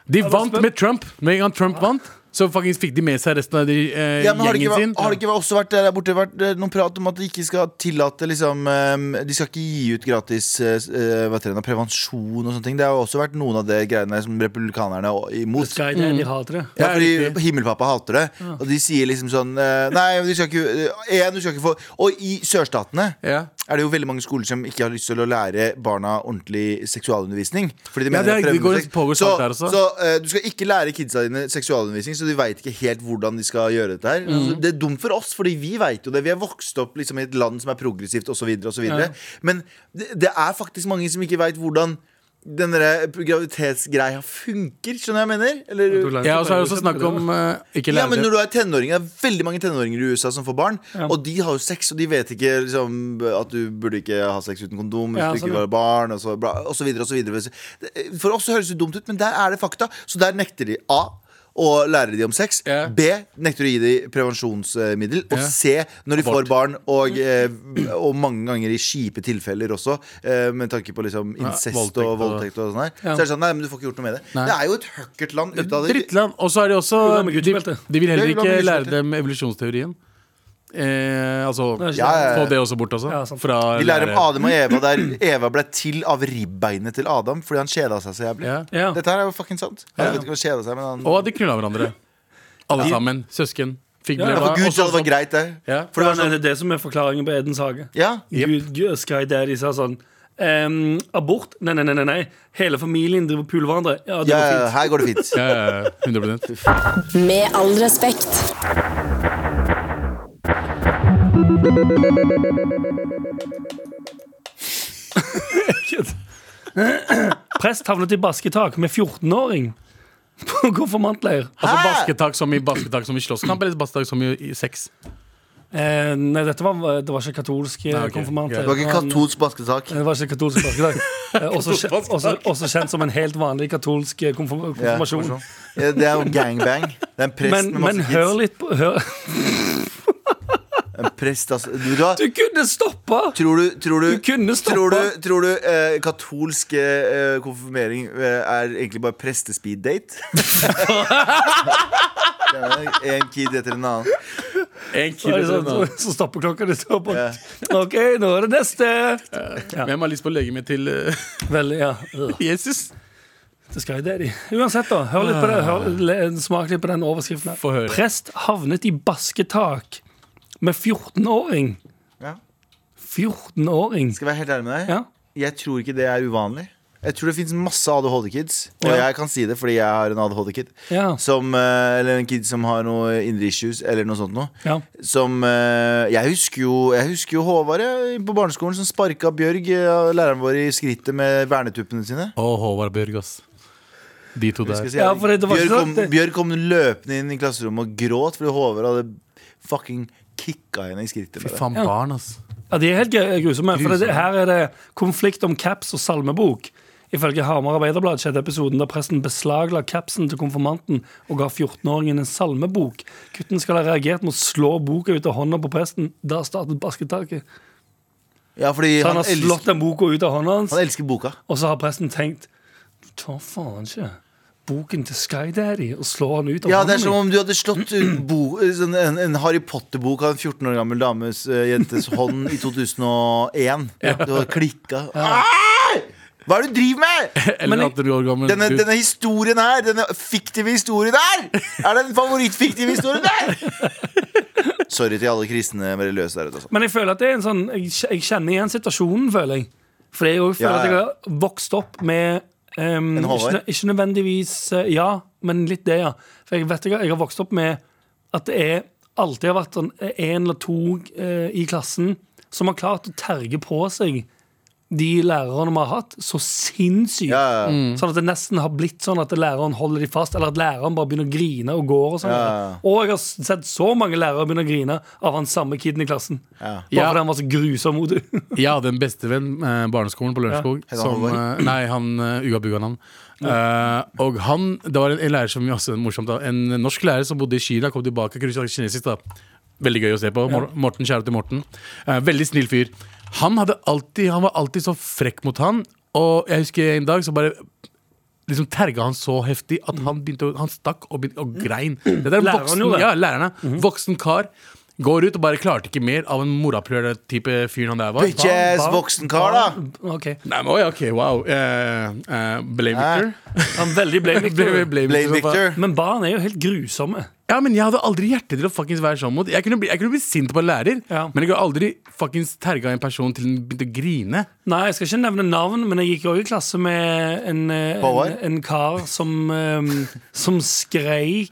Speaker 4: De vant
Speaker 3: spent.
Speaker 4: med Trump. Med en gang Trump vant, så faktisk fikk de med seg resten av de, eh,
Speaker 2: Ja, men har det ikke,
Speaker 4: gjengen
Speaker 2: vært-
Speaker 4: sin.
Speaker 2: har det ikke vært- også vært der borte vært eh, noen prat om at de ikke skal tillate liksom, eh, De skal ikke gi ut gratis eh, eh, hva heter det, prevensjon og sånne ting. Det har jo også vært noen av de greiene som republikanerne er imot.
Speaker 3: Sky Daddy hater det.
Speaker 2: Ja,
Speaker 4: Det er
Speaker 2: fordi
Speaker 4: riktig.
Speaker 2: Himmelpappa hater det. Og de sier liksom sånn eh, Nei, du skal ikke, eh, en, du skal ikke få Og i sørstatene
Speaker 4: Ja.
Speaker 2: er det jo veldig mange skoler som ikke har lyst til å lære barna ordentlig seksualundervisning. Fordi de
Speaker 4: Ja,
Speaker 2: mener
Speaker 4: det er-
Speaker 2: at
Speaker 4: det
Speaker 2: fremmedmusikk-
Speaker 4: går- pågår
Speaker 2: Så,
Speaker 4: sak der også.
Speaker 2: så eh, du skal ikke lære kidsa dine seksualundervisning, så de veit ikke helt hvordan de skal gjøre dette her.
Speaker 4: Mhm.
Speaker 2: Altså, det er dumt for oss, fordi vi veit jo det. Vi er vokst opp liksom, i et land som er progressivt osv. videre og så videre. Men det, det er faktisk mange som ikke veit hvordan den der graviditetsgreia funker. Skjønner du hva jeg mener? Eller,
Speaker 4: Ja, og så er det også snakk om eh, Ikke
Speaker 2: ja, men
Speaker 4: lære
Speaker 2: når du er tenåring Det er veldig mange tenåringer i USA som får barn. Og de har jo sex, og de vet ikke liksom, at du burde ikke ha sex uten kondom. Hvis
Speaker 3: Ja,
Speaker 2: du ikke
Speaker 3: sånn,
Speaker 2: vil
Speaker 3: ja.
Speaker 2: ha barn og så, bla, og så videre og så videre. Det- For oss så høres det dumt ut, men der er det fakta. Så der nekter de A. Og lærer de om sex.
Speaker 4: Ja.
Speaker 2: B. Nekter å gi dem prevensjonsmiddel. Og
Speaker 4: Ja.
Speaker 2: C. Når de
Speaker 4: Abort.
Speaker 2: får barn, og, eh, og mange ganger i kjipe tilfeller også, eh, med tanke på liksom incest
Speaker 4: voldtekt
Speaker 2: og
Speaker 4: og-
Speaker 2: voldtekt og sånn her, så er det sånn Nei, men du får ikke gjort noe med det.
Speaker 4: Nei.
Speaker 2: Det er jo et høkkertland ut av det.
Speaker 4: Drittland. Og så er det også
Speaker 3: Jo, det er med
Speaker 4: de,
Speaker 3: guttebeltet.
Speaker 4: de vil heller
Speaker 2: Det er jo
Speaker 4: ikke
Speaker 2: med
Speaker 4: lære
Speaker 2: guttebeltet.
Speaker 4: dem evolusjonsteorien. Eh, altså
Speaker 3: Det er ikke
Speaker 2: Ja, ja, ja.
Speaker 4: Få det også bort, altså.
Speaker 3: Ja, sant.
Speaker 4: Fra
Speaker 2: Vi lærer om
Speaker 4: lærer-
Speaker 2: Adam og Eva der Eva ble til av ribbeinet til Adam fordi han kjeda seg så jævlig.
Speaker 4: Ja.
Speaker 3: Ja.
Speaker 2: Dette her er jo fucking sant. Han vet ikke hva kjeda seg, men han
Speaker 4: Og at de knulla hverandre. Alle sammen. Søsken. Fikk
Speaker 3: Ja, ja,
Speaker 2: Ja,
Speaker 4: brev
Speaker 2: For
Speaker 4: av-
Speaker 2: Gud
Speaker 4: og så-
Speaker 2: sa det var greit, det.
Speaker 4: Ja.
Speaker 2: For det var
Speaker 3: Ja, nei,
Speaker 2: sånn
Speaker 3: det er det som er forklaringen på Edens hage.
Speaker 2: Ja.
Speaker 3: Gud, Gud, Sky Daddy sa sånn ehm, Abort? Nei, nei, nei, nei, nei. Hele familien driver og puler hverandre. Ja, det
Speaker 2: ja,
Speaker 3: går
Speaker 2: ja,
Speaker 3: fint.
Speaker 2: her går det
Speaker 3: (laughs)
Speaker 2: fint.
Speaker 4: Ja, ja, ja, 100
Speaker 1: Med all respekt.
Speaker 3: Prest havnet i basketak med 14-åring (laughs) på konfirmantleir.
Speaker 4: Altså
Speaker 2: Hæ?
Speaker 4: basketak som i basketak som i slåsskamp, eller basketak som i, i sex?
Speaker 3: Eh, nei, dette var, det var ikke katolsk eh,
Speaker 4: Nei, ok,
Speaker 3: konfirmant.
Speaker 4: greit.
Speaker 2: Det var ikke katolsk basketak.
Speaker 3: Det var ikke katolsk
Speaker 2: (laughs)
Speaker 3: basketak. Eh, også, kje- også, også kjent som en helt vanlig katolsk eh, konfirm
Speaker 2: Ja,
Speaker 3: konfirmasjon.
Speaker 2: sånn. Ja, det er jo gangbang. Det er en prest
Speaker 3: men
Speaker 2: med
Speaker 3: men
Speaker 2: masse
Speaker 3: hør
Speaker 2: kids.
Speaker 3: litt på hør. (laughs)
Speaker 2: En prest, altså. Du, vet du, hva?
Speaker 3: Du kunne stoppa!
Speaker 2: tror du, tror du,
Speaker 3: Du kunne stoppa.
Speaker 2: tror du, tror du eh, katolsk eh, konfirmering eh, er egentlig bare
Speaker 3: (laughs)
Speaker 2: (laughs) prestespeed-date? en kid etter en annen.
Speaker 3: Så, så, så stopper klokka litt opp. og- OK, nå er det neste.
Speaker 4: Hvem har lyst på legemet til eh, (laughs)
Speaker 3: Vel, ja. øh,
Speaker 4: Jesus?
Speaker 3: Det skal jo det, de. Uansett, da. Hør litt på det. Hør, le- smak litt på den overskriften. her.
Speaker 4: Ah. Få høre.
Speaker 3: Prest havnet i basketak med 14-åring.
Speaker 2: Ja.
Speaker 3: 14-åring.
Speaker 2: Skal jeg være helt ærlig med deg?
Speaker 3: Ja.
Speaker 2: Jeg tror ikke det er uvanlig. Jeg tror det finnes masse ADHD-kids, og
Speaker 3: Ja.
Speaker 2: jeg kan si det fordi jeg har en ADHD-kid.
Speaker 3: Ja.
Speaker 2: Som, eh, Eller en kid som har noe indre issues, eller noe sånt noe.
Speaker 3: Ja.
Speaker 2: Som eh, Jeg husker jo, jeg husker jo Håvard jeg, på barneskolen som sparka Bjørg, eh, læreren vår, i skrittet med vernetuppene sine.
Speaker 4: Å, Håvard Bjørg, ass. De to
Speaker 2: Skal
Speaker 4: der.
Speaker 2: jeg si,
Speaker 3: Ja, for det var ikke
Speaker 2: Bjørg,
Speaker 3: sant,
Speaker 2: kom,
Speaker 3: det-
Speaker 2: Bjørg kom løpende inn i klasserommet og gråt fordi Håvard hadde fucking kicka henne i skrittet. med
Speaker 4: Fy
Speaker 2: det.
Speaker 4: faen,
Speaker 3: Ja.
Speaker 4: barn, ass.
Speaker 3: Ja, De er helt gru- grusomme. For det,
Speaker 4: Grusomme.
Speaker 3: her er det konflikt om caps og salmebok. Ifølge Hamar Arbeiderblad skjedde episoden der presten beslagla capsen til konfirmanten og ga 14-åringen en salmebok. Gutten skal ha reagert med å slå boka ut av hånda på presten. Da startet basketaket.
Speaker 2: Ja, fordi
Speaker 3: Så han
Speaker 2: han,
Speaker 3: har slått
Speaker 2: elsker,
Speaker 3: den boka ut av hånda hans,
Speaker 2: han elsker boka.
Speaker 3: og så har presten tenkt Du tar faen ikke boken til Sky Daddy og slår han ut av
Speaker 2: Ja,
Speaker 3: hånda
Speaker 2: det er som
Speaker 3: mi.
Speaker 2: om du hadde slått en, bo, sånn, en, en Harry Potter-bok av en 14 år gammel dames eh, jentes hånd i 2001. Du hadde klikka. Ai! Hva er det du driver med?!
Speaker 4: Eller
Speaker 3: Men-
Speaker 4: 18 år gammel
Speaker 2: Denne,
Speaker 4: gutt.
Speaker 2: denne historien her, denne fiktive historien her, er den favorittfiktive historien der! Sorry til alle kristne religiøse der ute. altså.
Speaker 3: Men jeg føler at det er en sånn Jeg, kj- jeg kjenner igjen situasjonen, føler jeg. For jeg også
Speaker 2: Ja, ja.
Speaker 3: føler at jeg har vokst opp med ehm,
Speaker 2: En
Speaker 3: ikke,
Speaker 2: Håvard?
Speaker 3: nø- ikke nødvendigvis eh, Ja, men litt det, ja. For jeg vet ikke, jeg har vokst opp med at det er alltid har vært sånn én eller to eh, i klassen som har klart å terge på seg de lærerne vi har hatt, så sinnssykt.
Speaker 2: Ja, ja, ja.
Speaker 3: Sånn at det nesten har blitt sånn at læreren holder de fast, eller at læreren bare begynner å grine og går. Og sånn
Speaker 2: Ja.
Speaker 3: Og jeg har s- sett så mange lærere begynne å grine av han samme kiden i klassen. Bare
Speaker 4: Ja.
Speaker 3: fordi han var så grusom mot (laughs) henne.
Speaker 4: Jeg hadde en bestevenn eh, barneskolen på Lørenskog.
Speaker 2: Heter han
Speaker 4: som,
Speaker 2: Håvard?
Speaker 4: eh, nei, han eh, Uga Buga-navn. Eh, og han, det var en, en lærer som også morsomt da, En norsk lærer som bodde i Kina, kom tilbake kunne snakke kinesisk. da Veldig gøy å se på. Mor- Morten, Kjære til Morten. Eh, veldig snill fyr. Han, hadde alltid, han var alltid så frekk mot han, og jeg husker en dag så bare Liksom terga han så heftig at han begynte å, han stakk og, begynte, og grein. Det der er
Speaker 3: Mm. Læreren
Speaker 4: voksen,
Speaker 3: gjorde det. Mhm.
Speaker 4: ja, lærerne, voksen kar. Går ut og bare klarte ikke mer av en morapulere-type fyr han der var.
Speaker 2: Bitches, voksen kar, da.
Speaker 3: Ok.
Speaker 4: Nei, men, oi, ok, wow eh, eh, Blame Victor
Speaker 3: Han er veldig blame
Speaker 4: Blame-
Speaker 3: Victor.
Speaker 4: blame
Speaker 2: Blame
Speaker 4: Victor, så
Speaker 2: Victor.
Speaker 3: Men barn er jo helt grusomme.
Speaker 4: fa- Ja, men jeg hadde aldri hjerte til å fucking være sånn mot Jeg kunne bli, jeg kunne bli sint på en lærer
Speaker 3: Ja.
Speaker 4: Men jeg kunne aldri fucking terga en person til den begynte å grine
Speaker 3: Nei, jeg skal ikke nevne navn, men jeg gikk òg i klasse med en, eh,
Speaker 2: Håvard?
Speaker 3: en, en kar som, eh, som skreik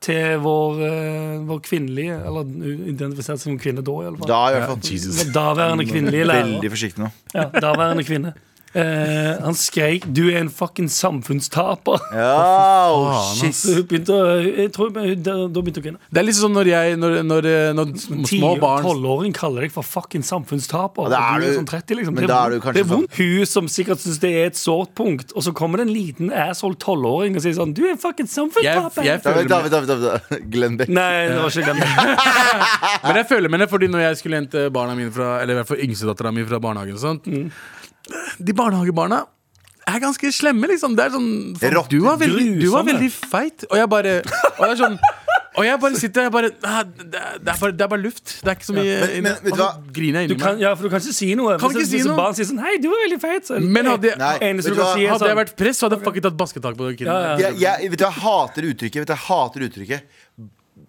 Speaker 3: til vår, eh, vår kvinnelige Eller identifiserte seg som kvinne da, i alle fall.
Speaker 2: Da, i hvert fall.
Speaker 3: Vår Daværende kvinnelige lærer.
Speaker 2: Veldig forsiktig nå.
Speaker 3: Ja, daværende kvinne. Eh, han skreik 'du er en fucking samfunnstaper'.
Speaker 2: Ja, oh,
Speaker 3: Så
Speaker 2: shit.
Speaker 3: hun begynte å jeg tror, hun- da, da begynte hun å grine.
Speaker 4: Det er liksom sånn når jeg Når, når, eh, når små barn
Speaker 3: Tolvåring kaller deg for fucking samfunnstaper.
Speaker 2: da er
Speaker 3: og du er
Speaker 2: du-
Speaker 3: sånn 30,
Speaker 2: men
Speaker 3: liksom. det, er
Speaker 2: da er
Speaker 3: vondt.
Speaker 2: du kanskje sånn-
Speaker 3: det er vondt. Hun som sikkert syns det er et sårt punkt, og så kommer det en liten asshole tolvåring og sier sånn 'Du er en fucking samfunnstaper'.
Speaker 4: Jeg- jeg-
Speaker 2: David, David, David, David. Glenn Beck.
Speaker 3: Nei, det var ikke den.
Speaker 4: Men jeg føler med det, fordi når jeg skulle hente barna mine fra Eller i hvert fall yngstedattera mi fra barnehagen og sånt De barnehagebarna er ganske slemme, liksom. Det er sånn faen,
Speaker 2: Rått,
Speaker 4: du, var veldig, du var
Speaker 3: grusomme.
Speaker 4: veldig feit. Og jeg bare Og jeg, er sånn, og jeg bare sitter og jeg bare «Ah, det, det, er bare det er bare luft. Det er ikke så mye
Speaker 2: Men- men
Speaker 4: inne.»
Speaker 2: vet du
Speaker 4: Og så
Speaker 2: hva?
Speaker 4: griner jeg
Speaker 3: Du
Speaker 2: (laughs)
Speaker 4: inni
Speaker 3: kan,
Speaker 4: meg.
Speaker 3: ja, for du kan ikke si noe.
Speaker 4: Kan
Speaker 3: Hvis-
Speaker 4: ikke si
Speaker 3: hvis
Speaker 4: noe.
Speaker 3: barn sier sånn 'Hei, du var veldig feit', så er det-
Speaker 4: Men hadde,
Speaker 2: Nei,
Speaker 3: eneste
Speaker 2: vet
Speaker 3: du
Speaker 2: du
Speaker 3: kan
Speaker 2: hva?
Speaker 3: si, er
Speaker 4: hadde jeg
Speaker 3: sånn
Speaker 4: vært press, så hadde jeg fucking tatt basketak på det
Speaker 3: Ja, ja.
Speaker 4: kidden.
Speaker 2: Jeg, jeg, vet du, jeg hater uttrykket. Vet du, jeg hater uttrykket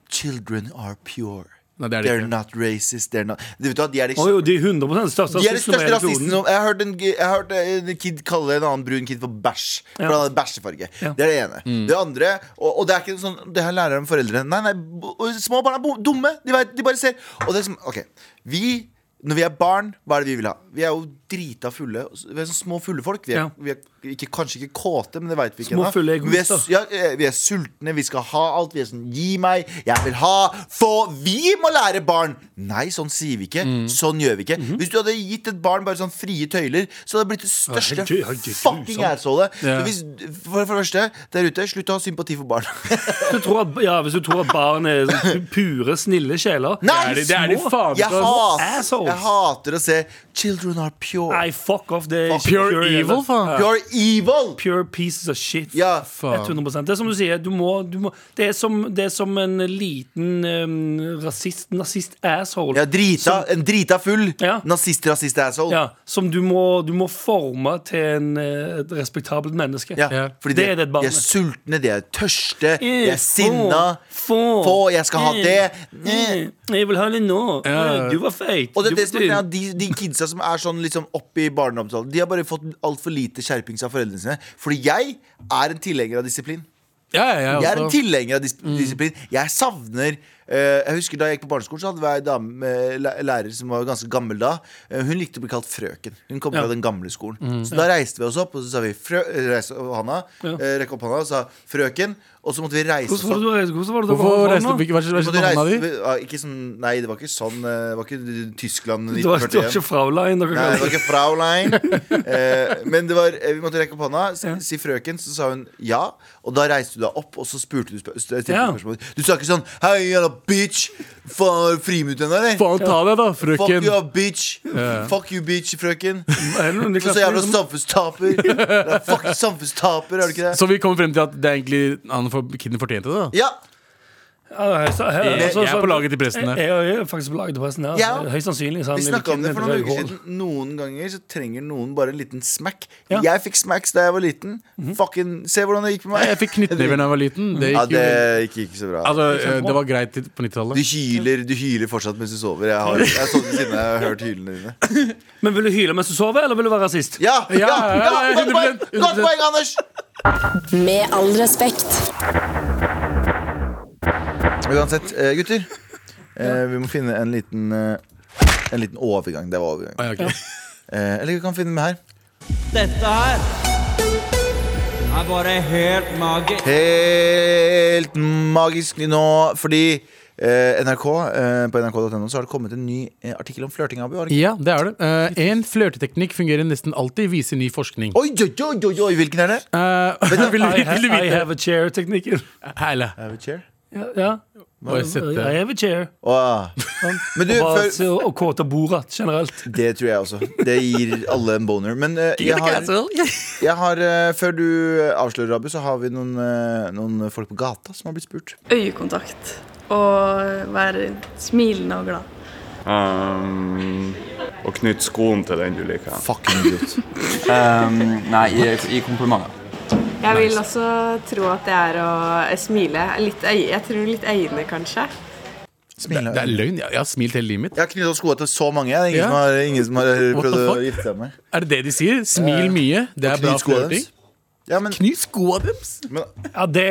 Speaker 2: Children are pure.
Speaker 4: Nei, det er det
Speaker 2: They're
Speaker 4: ikke.
Speaker 2: not racist. They're not Du vet hva, de er de
Speaker 3: Å jo, de er 100 største
Speaker 2: De er de
Speaker 3: rasistene på
Speaker 2: største
Speaker 3: hele
Speaker 2: rasistene
Speaker 3: kloden.
Speaker 2: som Jeg har hørt en, jeg har hørt en kid kalle en annen brun kid for bæsj. For
Speaker 3: Ja.
Speaker 2: han hadde bæsjefarge.
Speaker 3: Ja.
Speaker 2: Det er det ene. Det andre Og, og det er ikke sånn Det her lærer de foreldrene. Nei, nei, bo- og små barn er bo- dumme. De, vet, de bare ser. Og det er som OK. Vi når vi er barn, hva er det vi vil ha? Vi er jo drita fulle. Vi er sånn små fulle folk. Vi er,
Speaker 3: Ja.
Speaker 2: vi er ikke, kanskje ikke kåte, men det veit vi ikke
Speaker 3: Små
Speaker 2: ennå.
Speaker 3: fulle
Speaker 2: Vi, er
Speaker 3: egoister.
Speaker 2: s- ja, eh, vi er sultne, vi skal ha alt. Vi er sånn Gi meg, jeg vil ha, få! Vi må lære barn! Nei, sånn sier vi ikke.
Speaker 4: Mm.
Speaker 2: Sånn gjør vi ikke.
Speaker 4: Mm-hmm.
Speaker 2: Hvis du hadde gitt et barn bare sånn frie tøyler, så hadde det blitt det største
Speaker 3: helt- helt grusomt.
Speaker 2: fucking asshole. Så
Speaker 4: Ja.
Speaker 2: hvis, for, for det første, der ute, slutt å ha sympati for
Speaker 4: (laughs)
Speaker 2: barn.
Speaker 3: Hvis du tror at, ja, hvis du tror at barn er sånn pu- pure, snille sjeler
Speaker 2: Nei,
Speaker 4: Det er de- det er de
Speaker 3: små.
Speaker 4: faen
Speaker 2: Jeg,
Speaker 4: ikke. ass.
Speaker 2: hater,
Speaker 3: assholes.
Speaker 2: jeg hater å se Children are pure.
Speaker 3: Nei, fuck off. Det er ikke
Speaker 4: Pure evil,
Speaker 3: eller-
Speaker 4: faen.
Speaker 2: Pure evil!
Speaker 3: Pure pieces of shit.
Speaker 2: Ja,
Speaker 4: faen.
Speaker 3: 100 Det er som du sier, du må, du må det, er som, det er som en liten um, rasist, nazist-asshole.
Speaker 2: Ja, drita, en drita full
Speaker 3: Ja.
Speaker 2: nazist, rasist, asshole.
Speaker 3: Ja, som du må, du må forme til en, eh, et respektabelt menneske.
Speaker 2: Ja,
Speaker 4: Ja.
Speaker 2: Fordi
Speaker 3: Det
Speaker 2: de,
Speaker 3: er det et barn
Speaker 2: de
Speaker 3: er.
Speaker 2: er sultne, de er tørste, de
Speaker 3: Eh,
Speaker 2: er sinna.
Speaker 3: Få,
Speaker 2: Få, jeg skal ha
Speaker 3: Eh,
Speaker 2: det.
Speaker 3: eh, Jeg vil ha det nå.
Speaker 4: Ja.
Speaker 3: Eh, Du var feit.
Speaker 2: Og det er
Speaker 3: Du
Speaker 2: det som er
Speaker 3: var
Speaker 2: greia,
Speaker 3: tynn.
Speaker 2: de, de kidsa som er sånn liksom oppe i barneomtalen, de har bare fått altfor lite skjerpings av foreldrene sine. Fordi jeg er en tilhenger av disiplin.
Speaker 4: Ja, ja, altså. jeg
Speaker 2: Jeg er en
Speaker 3: altså-
Speaker 4: også.
Speaker 2: tilhenger av dis
Speaker 3: Mm.
Speaker 2: disiplin. Jeg savner eh, Jeg husker Da jeg gikk på barneskolen, Så hadde vi ei dame, eh, læ- lærer som var ganske gammel da. Eh, hun likte å bli kalt frøken. Hun kom fra den gamle skolen. Så da reiste vi oss opp, og så sa vi frø reiste, og Hanna,
Speaker 3: Mm. Ja.
Speaker 2: eh, Rekk opp hånda og sa 'frøken'. Og så måtte vi reise oss
Speaker 3: Hvordan var
Speaker 2: opp.
Speaker 3: det du reiste? Hvordan var det du
Speaker 4: Hvorfor
Speaker 3: var-
Speaker 4: reiste
Speaker 3: var-
Speaker 4: du ikke? Vær så vær så
Speaker 2: Måtte
Speaker 4: snill, hånda di.
Speaker 2: reise- ja, ikke sånn, nei, det var ikke sånn eh, Det var ikke Tyskland
Speaker 3: (laughs) Det var, det var
Speaker 2: 1941.
Speaker 3: ikke Fraulein.
Speaker 2: Nei,
Speaker 3: Dere
Speaker 2: det
Speaker 3: kaller
Speaker 2: var
Speaker 3: det.
Speaker 2: ikke
Speaker 4: (laughs)
Speaker 2: Fraulein. Eh, men det var, eh, vi måtte rekke opp hånda. Si,
Speaker 3: Ja.
Speaker 2: si frøken, så sa hun ja. Og da reiste du deg opp, og så spurte du spør stilte du
Speaker 3: Ja.
Speaker 2: spørsmål. Du sa ikke sånn Hei, jævla bitch! Faen, friminutt ennå, eller?
Speaker 4: Faen, ta deg, da,
Speaker 2: Fuck
Speaker 4: frøken.
Speaker 2: you, bitch! Fuck you, bitch,
Speaker 4: (laughs)
Speaker 2: frøken.
Speaker 3: Er det noen i
Speaker 2: Så
Speaker 3: klassen
Speaker 2: jævla
Speaker 3: som-
Speaker 2: samfunnstaper. Ja, Fuck samfunnstaper, er du ikke det?
Speaker 4: Så vi kommer frem til at det er egentlig han for, kiden fortjente det, da.
Speaker 2: Ja,
Speaker 3: Ja, høyst- hø-
Speaker 4: Jeg-
Speaker 3: altså,
Speaker 4: jeg er
Speaker 3: så-
Speaker 4: på laget til presten her.
Speaker 3: Jeg, jeg er faktisk på laget til presten her.
Speaker 2: Ja.
Speaker 3: altså, Høyst sannsynlig. så han
Speaker 2: Vi
Speaker 3: vil
Speaker 2: snakka om det
Speaker 3: ikke
Speaker 2: for noen
Speaker 3: rødhål.
Speaker 2: uker siden. Noen ganger så trenger noen bare en liten smack.
Speaker 3: Ja.
Speaker 2: Jeg fikk smacks da jeg var liten. Fucking, Se hvordan det gikk med
Speaker 4: Mhm. Jeg
Speaker 2: meg.
Speaker 4: fikk knyttnever da jeg var liten. Det
Speaker 2: Ja,
Speaker 4: gikk jo
Speaker 2: det gikk ikke så bra.
Speaker 4: Altså, eh, det var greit til- på 90-tallet.
Speaker 2: Du hyler, du hyler fortsatt mens du sover. Jeg har, jeg har sovet siden jeg har hørt hylene dine.
Speaker 3: Men vil du hyle mens du sover, eller vil du være rasist?
Speaker 2: Ja! ja,
Speaker 4: Ja,
Speaker 2: ja,
Speaker 4: ja, ja,
Speaker 2: godt poeng!
Speaker 4: 100%,
Speaker 2: Godt poeng, Anders!
Speaker 1: Med all respekt.
Speaker 2: Uansett, eh, gutter. eh, Vi må finne en liten eh, En liten overgang. Det var overgang.
Speaker 4: Ah, ja, ok.
Speaker 2: Eh, Eller vi kan finne den her.
Speaker 6: Dette her er bare helt magisk.
Speaker 2: Helt magisk nå, fordi eh, NRK, eh, På nrk.no så har det kommet en ny eh, artikkel om flørting. Abu, har det ikke?
Speaker 4: Ja, det er det. Eh, en flørteteknikk fungerer nesten alltid, viser ny forskning.
Speaker 2: Oi, oi, oi, oi, oi, hvilken er det?
Speaker 4: Eh, vil, (laughs)
Speaker 3: I,
Speaker 4: vil,
Speaker 3: ha,
Speaker 4: vil du
Speaker 3: I
Speaker 4: vite?
Speaker 3: have a chair-teknikken.
Speaker 4: Heile.
Speaker 2: Have a chair.
Speaker 3: Ja, ja.
Speaker 4: Må jeg sette-
Speaker 3: I have a chair.
Speaker 2: (laughs) Åh.
Speaker 3: Sånn.
Speaker 2: Men du,
Speaker 3: Og bare
Speaker 2: før,
Speaker 3: se- Og kåte bordet generelt.
Speaker 2: det tror jeg også. Det gir alle en boner. Men eh, jeg har
Speaker 4: (laughs)
Speaker 2: Jeg har, eh, Før du eh, avslører, Abu, så har vi noen, eh, noen folk på gata som har blitt spurt.
Speaker 7: øyekontakt og være smilende og glad.
Speaker 8: Um, og knytt skoen til den du liker.
Speaker 2: Fucking idiot.
Speaker 6: nei, i, i komplimenter.
Speaker 9: Jeg vil også tro at det er å smile. Litt, øy- jeg tror litt øyne, kanskje.
Speaker 2: Smil.
Speaker 4: Det er løgn. Jeg, jeg har smilt hele livet mitt.
Speaker 2: Jeg har knytta skoa til så mange. Det er ingen
Speaker 4: Ja.
Speaker 2: som har, ingen som har
Speaker 4: What
Speaker 2: prøvd
Speaker 4: the
Speaker 2: å
Speaker 4: fuck?
Speaker 2: gifte seg med
Speaker 4: Er det det de sier?
Speaker 3: Eh,
Speaker 4: Smil mye. Det er bra
Speaker 2: Knyt skoa
Speaker 4: flørting.
Speaker 2: deres. Ja, men,
Speaker 4: Kny skoa deres!
Speaker 2: men
Speaker 3: Ja, det,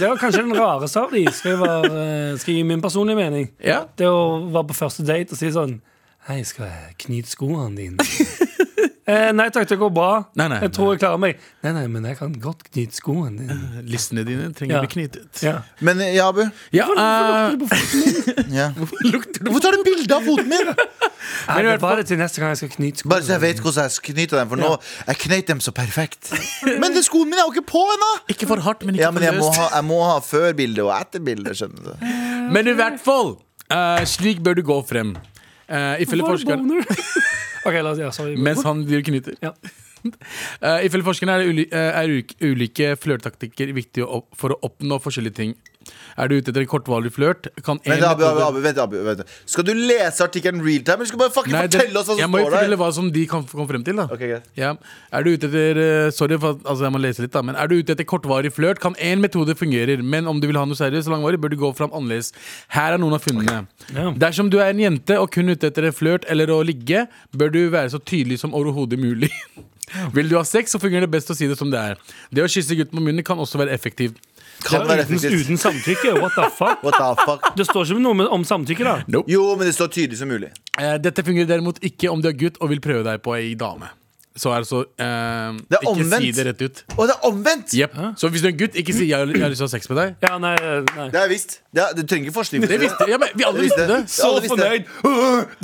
Speaker 3: det var kanskje den rareste av de, skal jeg, være, eh, skal jeg gi min personlige mening.
Speaker 4: Ja. (laughs)
Speaker 3: Det å være på første date og si sånn Hei, skal jeg knyte skoene dine? Eh, nei takk, det går bra.
Speaker 4: Nei, nei,
Speaker 3: jeg tror jeg klarer meg. Nei, nei, men jeg kan godt knyte skoen din.
Speaker 4: (laughs) Listene dine trenger
Speaker 3: Ja.
Speaker 4: bli knyttet.
Speaker 3: Ja.
Speaker 2: Men eh, ja, Abu.
Speaker 4: Ja, eh,
Speaker 2: Ja.
Speaker 4: (laughs) lukter det
Speaker 2: Hvorfor tar du bilde av foten min?!
Speaker 3: Nei, det var det til neste gang jeg skal knyte skoen.
Speaker 2: Bare så jeg vet hvordan jeg skal knyte dem, for nå Jeg knøt dem så perfekt. Men det, skoen min er jo ikke på ennå!
Speaker 4: (laughs) Ikke for hardt, men ikke
Speaker 2: Ja, men jeg
Speaker 4: for
Speaker 2: må
Speaker 4: løst.
Speaker 2: ha, jeg må ha før bildet og etter bildet, skjønner du.
Speaker 4: Men i hvert fall, eh, slik bør du gå frem. Eh, ifølge
Speaker 3: Var det
Speaker 4: forskeren
Speaker 3: boner? OK, la oss ja, sorry.
Speaker 4: Mens han driver knyter.
Speaker 3: Ja.
Speaker 4: (laughs) Eh, ifølge forskerne er, det uli eh, er uk- ulike flørtetaktikker viktige å opp- for å oppnå forskjellige ting. Er du ute etter en kortvarig flørt, kan en
Speaker 2: Vent, Abu, Abu,
Speaker 4: metode-
Speaker 2: Abu, vent, Abu, vent. Skal du lese artikkelen realtime, eller skal du bare fucking
Speaker 4: Nei, det-
Speaker 2: fortelle oss hva
Speaker 4: Jeg
Speaker 2: som
Speaker 4: må jo
Speaker 2: står
Speaker 4: fortelle
Speaker 2: der?
Speaker 4: hva som de kan f- komme frem til. da
Speaker 2: Ok, greit.
Speaker 4: ja. Er du ute etter eh, Sorry, for, at- altså jeg må lese litt da Men er du ute etter kortvarig flørt, kan én metode fungere. Men om du vil ha noe seriøst og langvarig, bør du gå fram annerledes. Her er noen av funnene.
Speaker 3: Ja.
Speaker 4: Dersom du er en jente og kun ute etter en flørt eller å ligge, bør du være så tydelig som overhodet mulig. (laughs) Vil du ha sex, så fungerer det best å si det som det er. Det å kysse gutten på munnen kan også være effektivt.
Speaker 2: Kan være
Speaker 3: uten,
Speaker 2: effektivt.
Speaker 3: uten samtykke. What the fuck?
Speaker 2: What the fuck?
Speaker 3: Det står ikke noe med- om samtykke, da.
Speaker 2: Jo, men det står tydelig som mulig.
Speaker 4: Eh, Dette fungerer derimot ikke om du er gutt og vil prøve deg på ei dame. Så er det så eh,
Speaker 2: Det er
Speaker 4: Ikke si
Speaker 2: omvendt.
Speaker 4: det rett ut.
Speaker 2: Å, det er omvendt!
Speaker 4: Jep. Så hvis du er en gutt, ikke si jeg, har- 'jeg har lyst til å ha sex med deg'.
Speaker 3: Ja, nei, nei.
Speaker 2: Det har jeg visst. Det er, du trenger ikke forskning for
Speaker 4: Det visste, ja, men vi
Speaker 2: Jeg
Speaker 4: alle visste
Speaker 2: visste
Speaker 4: det.
Speaker 2: det. Så Alle visste det.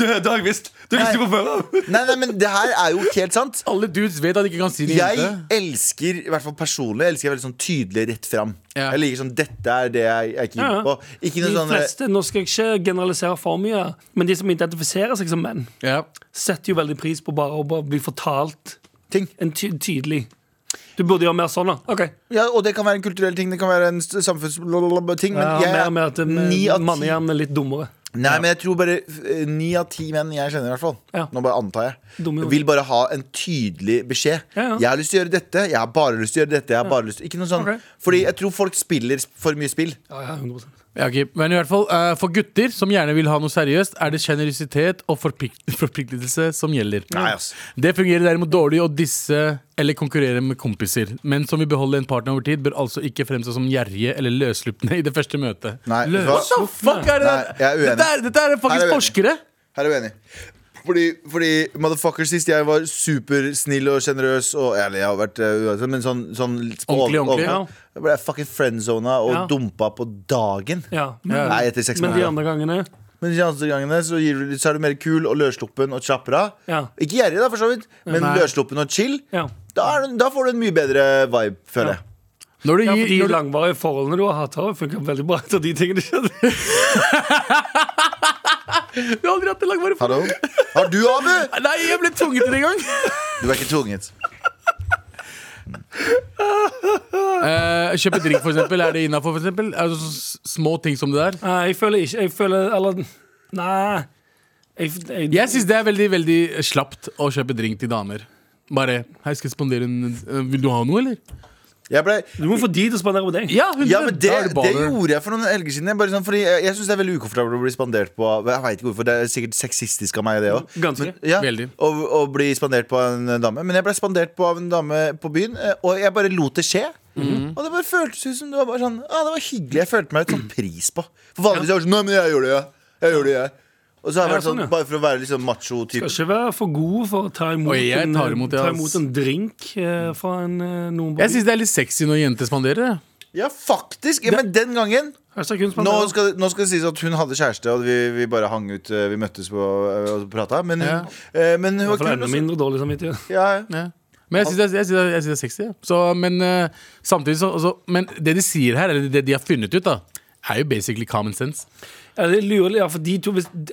Speaker 3: Det er Dag visst! Du
Speaker 2: visste Nei. på
Speaker 3: før
Speaker 2: Nei, nei, men det her er jo helt sant.
Speaker 4: Alle dudes vet at de ikke kan si det.
Speaker 2: Jeg
Speaker 4: jente.
Speaker 2: elsker, i hvert fall personlig, elsker jeg veldig sånn tydelig rett fram.
Speaker 4: Ja.
Speaker 2: Jeg liker sånn Dette er det jeg jeg er keen
Speaker 3: Ja, ja.
Speaker 2: på. Ikke
Speaker 3: De
Speaker 2: noe sånn
Speaker 3: fleste, Nå skal jeg ikke generalisere for mye, men de som identifiserer seg som menn,
Speaker 4: Ja.
Speaker 3: setter jo veldig pris på bare å bare bli fortalt
Speaker 2: eh, ting.
Speaker 3: en ty tydelig Du burde gjøre mer sånn, da. Ok.
Speaker 2: Ja, og det kan være en kulturell ting, det kan være en s- samfunnsting, men
Speaker 3: Ja,
Speaker 2: jeg
Speaker 3: mer med at eh,
Speaker 2: ni av ti
Speaker 3: mannehjernen er litt dummere.
Speaker 2: Nei, men jeg tror bare eh, ni av ti menn jeg kjenner, i hvert fall.
Speaker 3: Ja.
Speaker 2: Nå bare antar jeg.
Speaker 3: Dumme hoder.
Speaker 2: Vil bare ha en tydelig beskjed.
Speaker 3: Ja, ja.
Speaker 2: 'Jeg har lyst til å gjøre dette, jeg har bare lyst til å gjøre dette.' Jeg har bare lyst til Ikke noe sånn
Speaker 3: Ok.
Speaker 2: Fordi jeg tror folk spiller sp- for mye spill.
Speaker 3: Ja, ja, 100
Speaker 4: Ja, ok. Men i hvert fall, eh, for gutter som gjerne vil ha noe seriøst, er det sjenerøsitet og forplikt (laughs) forpliktelse som gjelder.
Speaker 2: Nei, ass.
Speaker 4: Det fungerer derimot dårlig å disse eller konkurrere med kompiser. Men som vil beholde en partner over tid, bør altså ikke fremstå som gjerrige eller løsslupne (laughs) i det første møtet.
Speaker 2: Nei, vet du hva?
Speaker 4: What the fuck er det
Speaker 2: Nei, jeg er
Speaker 4: der?
Speaker 2: uenig.
Speaker 4: Dette er, dette er
Speaker 2: Her er
Speaker 4: faktisk
Speaker 2: jeg uenig.
Speaker 4: forskere.
Speaker 2: Her er jeg uenig. Fordi, fordi motherfucker, sist jeg var supersnill og sjenerøs og Eller jeg har vært eh, uansett, men sånn, sånn litt på
Speaker 4: Ordentlig,
Speaker 2: over-
Speaker 4: ordentlig,
Speaker 2: over- Da ble jeg fucking friendzona og
Speaker 3: Ja.
Speaker 2: dumpa på dagen.
Speaker 3: Ja, men,
Speaker 2: Nei, etter seks
Speaker 3: men de
Speaker 2: måneder.
Speaker 3: andre gangene
Speaker 2: Men de andre gangene så, gir du, litt- så er du mer kul og løssluppen og kjappere.
Speaker 3: Ja.
Speaker 2: Ikke gjerrig, da, for så vidt, men
Speaker 4: Nei.
Speaker 2: løssluppen og chill.
Speaker 3: Ja.
Speaker 2: Da, er, du- da får du en mye bedre vibe, føler jeg.
Speaker 4: Når du
Speaker 3: Ja, for
Speaker 4: gir,
Speaker 3: de
Speaker 4: når du, (laughs)
Speaker 3: langvarige forholdene du har hatt, har funka veldig bra etter de tingene skjedde.
Speaker 4: du har aldri hatt det langvarig
Speaker 2: Hallo? Har du, Abu?
Speaker 4: Nei, jeg ble tvunget til det en gang.
Speaker 2: Du er ikke tvunget.
Speaker 4: Eh, kjøpe drink, for eksempel. Er det innafor, for eksempel? Altså, så s- små ting som det der.
Speaker 3: (laughs) Nei, jeg føler ikke Jeg føler Eller Nei. Jeg, jeg,
Speaker 4: Jeg syns det er veldig veldig slapt å kjøpe drink til damer. Bare Hei, skal jeg spandere en eh, Vil du ha noe, eller?
Speaker 2: Jeg ble,
Speaker 3: Du må få de til å spandere på deg.
Speaker 4: Ja, 100.
Speaker 2: Ja, men det,
Speaker 4: Da er
Speaker 2: det
Speaker 4: baller.
Speaker 2: gjorde jeg for noen helger siden. Jeg, bare sånn, fordi jeg, jeg syns det er veldig ukomfortabelt å bli spandert på av- Jeg vet ikke hvorfor, Det er sikkert sexistisk av meg, det òg.
Speaker 3: Ganske.
Speaker 2: Ja,
Speaker 4: Veldig.
Speaker 2: å, å bli spandert på av en eh, dame. Men jeg ble spandert på av en dame på byen, eh, og jeg bare lot det skje. Og det bare føltes ut som det var bare sånn ah, Det var hyggelig. Jeg følte meg litt sånn pris på. For vanligvis er jeg sånn Nei, men jeg gjorde det, jeg. Jeg gjorde det, jeg. Og så har jeg
Speaker 3: Ja,
Speaker 2: vært sånn,
Speaker 3: sånn, ja.
Speaker 2: bare for å være litt sånn macho-type.
Speaker 3: Skal ikke være for god for å ta imot,
Speaker 4: Oi, jeg tar
Speaker 3: en,
Speaker 4: imot det,
Speaker 3: ta
Speaker 4: ass.
Speaker 3: imot en drink eh, fra en, eh, noen på
Speaker 4: Jeg syns det er litt sexy når jenter spanderer.
Speaker 2: Ja, faktisk! Ja, men den gangen
Speaker 3: Hashtag hun
Speaker 2: nå
Speaker 3: spanderer.
Speaker 2: skal, det- nå skal det sies at hun hadde kjæreste, og vi, vi bare hang ut. eh, Vi møttes på, eh, og prata. Men, hun- eh, men hun
Speaker 3: I
Speaker 2: var
Speaker 3: hvert
Speaker 2: kul.
Speaker 3: fall enda
Speaker 2: og så-
Speaker 3: mindre dårlig samvittighet.
Speaker 2: Ja, ja.
Speaker 4: Ja. Men jeg syns det, er- jeg synes det, er- jeg synes det er sexy. ja. Så, men eh, samtidig så altså, Men det de sier her, eller det de har funnet ut, da, er jo basically common sense.
Speaker 3: Ja, det lurer ja, for de to hvis, Det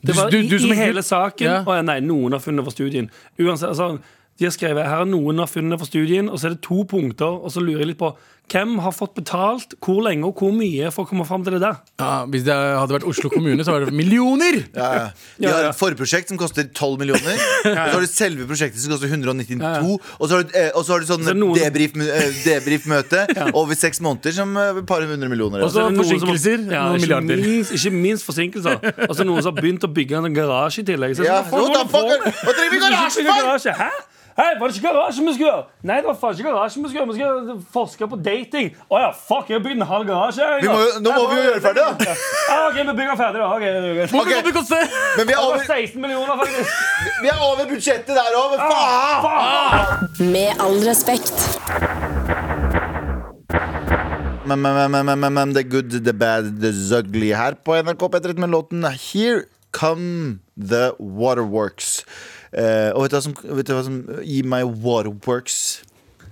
Speaker 3: det var
Speaker 4: du-
Speaker 3: i,
Speaker 4: du som
Speaker 3: i
Speaker 4: er-
Speaker 3: hele saken.
Speaker 4: Ja.
Speaker 3: Og ja, nei, noen har funnet for studien. Uansett, altså, de har skrevet her er noen har funnet for studien, og så er det to punkter. Og så lurer jeg litt på hvem har fått betalt, hvor lenge og hvor mye for å komme fram til det der.
Speaker 4: Ja, hvis det hadde vært Oslo kommune, så hadde det vært millioner!
Speaker 2: Ja, ja. De
Speaker 3: Ja,
Speaker 2: har
Speaker 3: ja.
Speaker 2: et forprosjekt som koster 12
Speaker 3: (laughs)
Speaker 2: millioner. Så har du selve prosjektet som koster 192. Og så har du, eh, og så har du sånn
Speaker 3: Så er det noen-
Speaker 2: debrief- eh,
Speaker 3: (laughs)
Speaker 2: debrief-møte over seks måneder som eh, et par hundre millioner.
Speaker 4: Og så-
Speaker 3: er Altså, det noen som har-
Speaker 4: forsinkelser, noen
Speaker 3: ikke
Speaker 4: milliarder.
Speaker 3: Minst, ikke minst forsinkelser. Og så er det noen som har begynt å bygge en garasje i tillegg. Så,
Speaker 2: ja,
Speaker 3: så-
Speaker 2: what the fuck? Hva trenger vi
Speaker 3: Ikke
Speaker 2: garasje
Speaker 3: bygge
Speaker 2: for?!
Speaker 3: garasje, Hæ? Hei, var det ikke garasjen vi skulle gjøre? Nei, det var faen ikke garasjen vi skulle gjøre. Vi skal forske på dating. Å ja, fuck, jeg har bygd en halv garasje. jeg,
Speaker 2: Vi må jo- nå
Speaker 3: Nei,
Speaker 2: må vi jo gjøre ferdig, da.
Speaker 3: (laughs) Ja, OK, vi bygger ferdig, da. Ok, ok, ok.
Speaker 4: Hvor mye
Speaker 2: Ok.
Speaker 4: det koste?
Speaker 2: Men vi er
Speaker 3: Det var
Speaker 2: over,
Speaker 3: 16 millioner, faktisk.
Speaker 2: vi er over budsjettet der òg, men faen!
Speaker 1: Med all respekt.
Speaker 2: Men, men, men, men, men, men, men, the good, the bad, the ugly her på NRK P13 med låten Here Come The Waterworks. Eh, og vet du, hva som, vet du hva som gir meg waterworks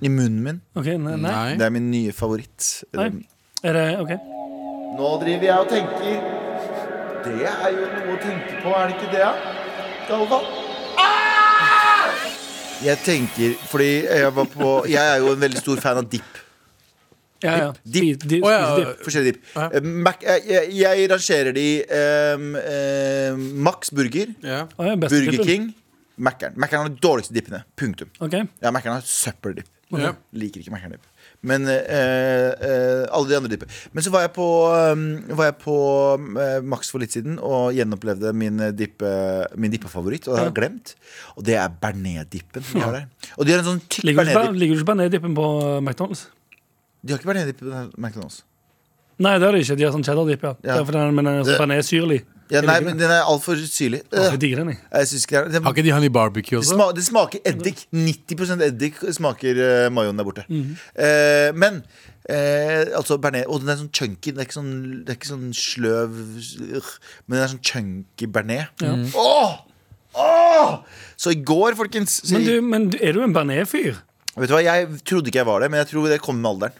Speaker 2: i munnen min?
Speaker 3: OK, nei. nei.
Speaker 4: Nei.
Speaker 2: Det er min nye favoritt.
Speaker 3: Nei. Er det OK?
Speaker 2: Nå driver jeg og tenker Det er jo noe å tenke på, er det ikke det? Galvan? Ah! Jeg tenker, fordi jeg var på Jeg er jo en veldig stor fan av dip.
Speaker 3: Ja, ja.
Speaker 2: Dipp.
Speaker 3: Spis- di-
Speaker 4: Å, ja.
Speaker 3: spis dipp.
Speaker 2: Forskjellige dip.
Speaker 4: Ja.
Speaker 2: Eh, Mac, jeg, jeg, jeg rangerer de um, Max Burger,
Speaker 4: Ja.
Speaker 3: Å, ja, beste
Speaker 2: Burger
Speaker 3: dippen.
Speaker 2: King, Mac'er'n. Mac'er'n har de dårligste dippene. Punktum.
Speaker 3: Ok.
Speaker 2: Ja, Mac'er'n har søppeldipp.
Speaker 4: Ja.
Speaker 2: Liker ikke Mac'er'n-dipp. Men eh, eh, alle de andre dipper. Men så var jeg på, eh, var jeg på eh, Max for litt siden og gjenopplevde min, eh, dippe, min dippefavoritt. Og det har jeg glemt. Og det er bearnésdippen. de har der. Og de har en sånn tykk
Speaker 3: Ligger du ikke bare-
Speaker 2: bearnésdipp.
Speaker 3: ligger du ikke bare ned i dippen på eh, McDonald's?
Speaker 2: De har ikke bearnésdipp på McDonald's.
Speaker 3: Nei, det er det ikke. De har sånn cheddar-dip, ja.
Speaker 2: Ja.
Speaker 3: Det er for den, men den er sånn- den er syrlig.
Speaker 2: Ja,
Speaker 3: Jeg
Speaker 2: nei,
Speaker 3: liker
Speaker 2: men
Speaker 3: den.
Speaker 2: den er altfor syrlig.
Speaker 3: Å,
Speaker 2: Øh,
Speaker 3: Jeg digger den, jeg.
Speaker 2: Jeg synes ikke det er
Speaker 4: Har
Speaker 2: det.
Speaker 4: ikke de honey barbecue
Speaker 2: Det,
Speaker 4: også?
Speaker 2: sma, det smaker eddik. 90 eddik smaker uh, mayoen der borte. Eh, men eh, altså bearnés Og den er sånn chunky. Den er ikke sånn, det er ikke sånn sløv øh, Men den er sånn chunky bearnés. Åh! Åh! Så i går, folkens så,
Speaker 3: Men, du, men du, er du en bearnés-fyr?
Speaker 2: Vet du hva, Jeg trodde ikke jeg var det, men jeg tror det kommer med alderen.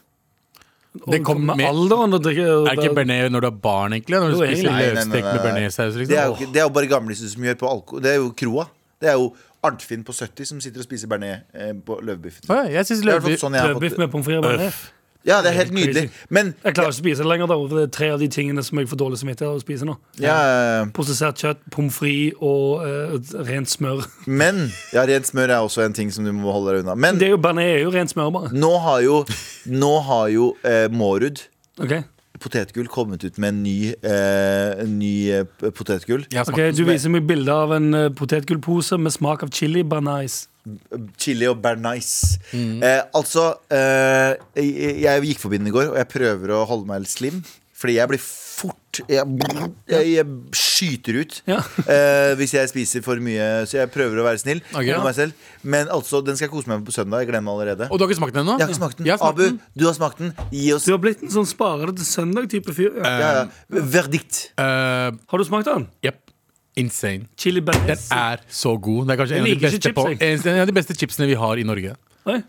Speaker 4: Det kom
Speaker 3: med
Speaker 4: med-
Speaker 3: alderen og drikker
Speaker 4: Er det ikke bearnés når du er barn, egentlig? Når du
Speaker 3: Jo,
Speaker 4: spiser
Speaker 3: egentlig.
Speaker 2: Nei, nei, nei,
Speaker 4: løvstek med
Speaker 2: nei.
Speaker 4: bearnéssaus,
Speaker 2: eh, Det er jo,
Speaker 4: liksom?
Speaker 2: ikke- det er jo bare gamliser som gjør på alkohol. Det er jo kroa. Det er jo Arnfinn på 70 som sitter og spiser bearnés eh, på løvbiffen.
Speaker 4: Åh, ja, jeg synes
Speaker 2: Det er i hvert fall
Speaker 4: løvbiff
Speaker 2: sånn jeg har
Speaker 3: Biff
Speaker 2: fått
Speaker 3: med pommes frites og bearnés?
Speaker 2: Ja, det er helt
Speaker 3: Crazy.
Speaker 2: nydelig. Men
Speaker 3: Jeg klarer ikke å spise det lenger, da, for det er tre av de tingene som jeg får dårlig samvittighet av å spise nå.
Speaker 2: ja,
Speaker 3: Prosessert kjøtt, pommes frites og eh, rent smør. (laughs)
Speaker 2: Men ja, rent smør er også en ting som du må holde deg unna. Men
Speaker 3: Det er jo, Bearnés er jo rent smør, bare.
Speaker 2: nå har jo, nå har jo eh, Mårud
Speaker 3: Ok,
Speaker 2: Potetgull kommet ut med en ny, eh, en ny eh, potetgull.
Speaker 4: Jeg har
Speaker 3: Ok,
Speaker 4: smakt
Speaker 3: Du viser meg bilde av en eh, potetgullpose med smak av chili bearnés.
Speaker 2: Chili og bearnés.
Speaker 3: Mm.
Speaker 2: Eh, altså, eh, jeg, jeg gikk forbi den i går, og jeg prøver å holde meg litt slim. Fordi jeg blir fort Jeg, jeg, jeg skyter ut
Speaker 3: Ja.
Speaker 2: eh, hvis jeg spiser for mye. Så jeg prøver å være snill.
Speaker 4: Ok.
Speaker 2: med meg selv. Men altså, den skal jeg kose meg med på søndag. Jeg gleder meg allerede.
Speaker 4: Og du har ikke smakt den ennå?
Speaker 2: Jeg har ikke smakt den.
Speaker 4: Jeg har smakt
Speaker 2: Abu,
Speaker 4: den.
Speaker 2: du har smakt den. Gi oss
Speaker 3: Du har blitt en sånn sparer det til søndag-type fyr. Ja.
Speaker 2: ja, ja. Verdikt.
Speaker 4: Eh,
Speaker 3: Har du smakt den?
Speaker 4: Jepp. Insane.
Speaker 3: Chili bearnés.
Speaker 4: Er så god. Det er kanskje
Speaker 3: Jeg
Speaker 4: en av, de
Speaker 3: liker ikke
Speaker 4: beste
Speaker 3: chips,
Speaker 4: på,
Speaker 3: jeg.
Speaker 4: en av de beste chipsene vi har i Norge.
Speaker 3: Oi.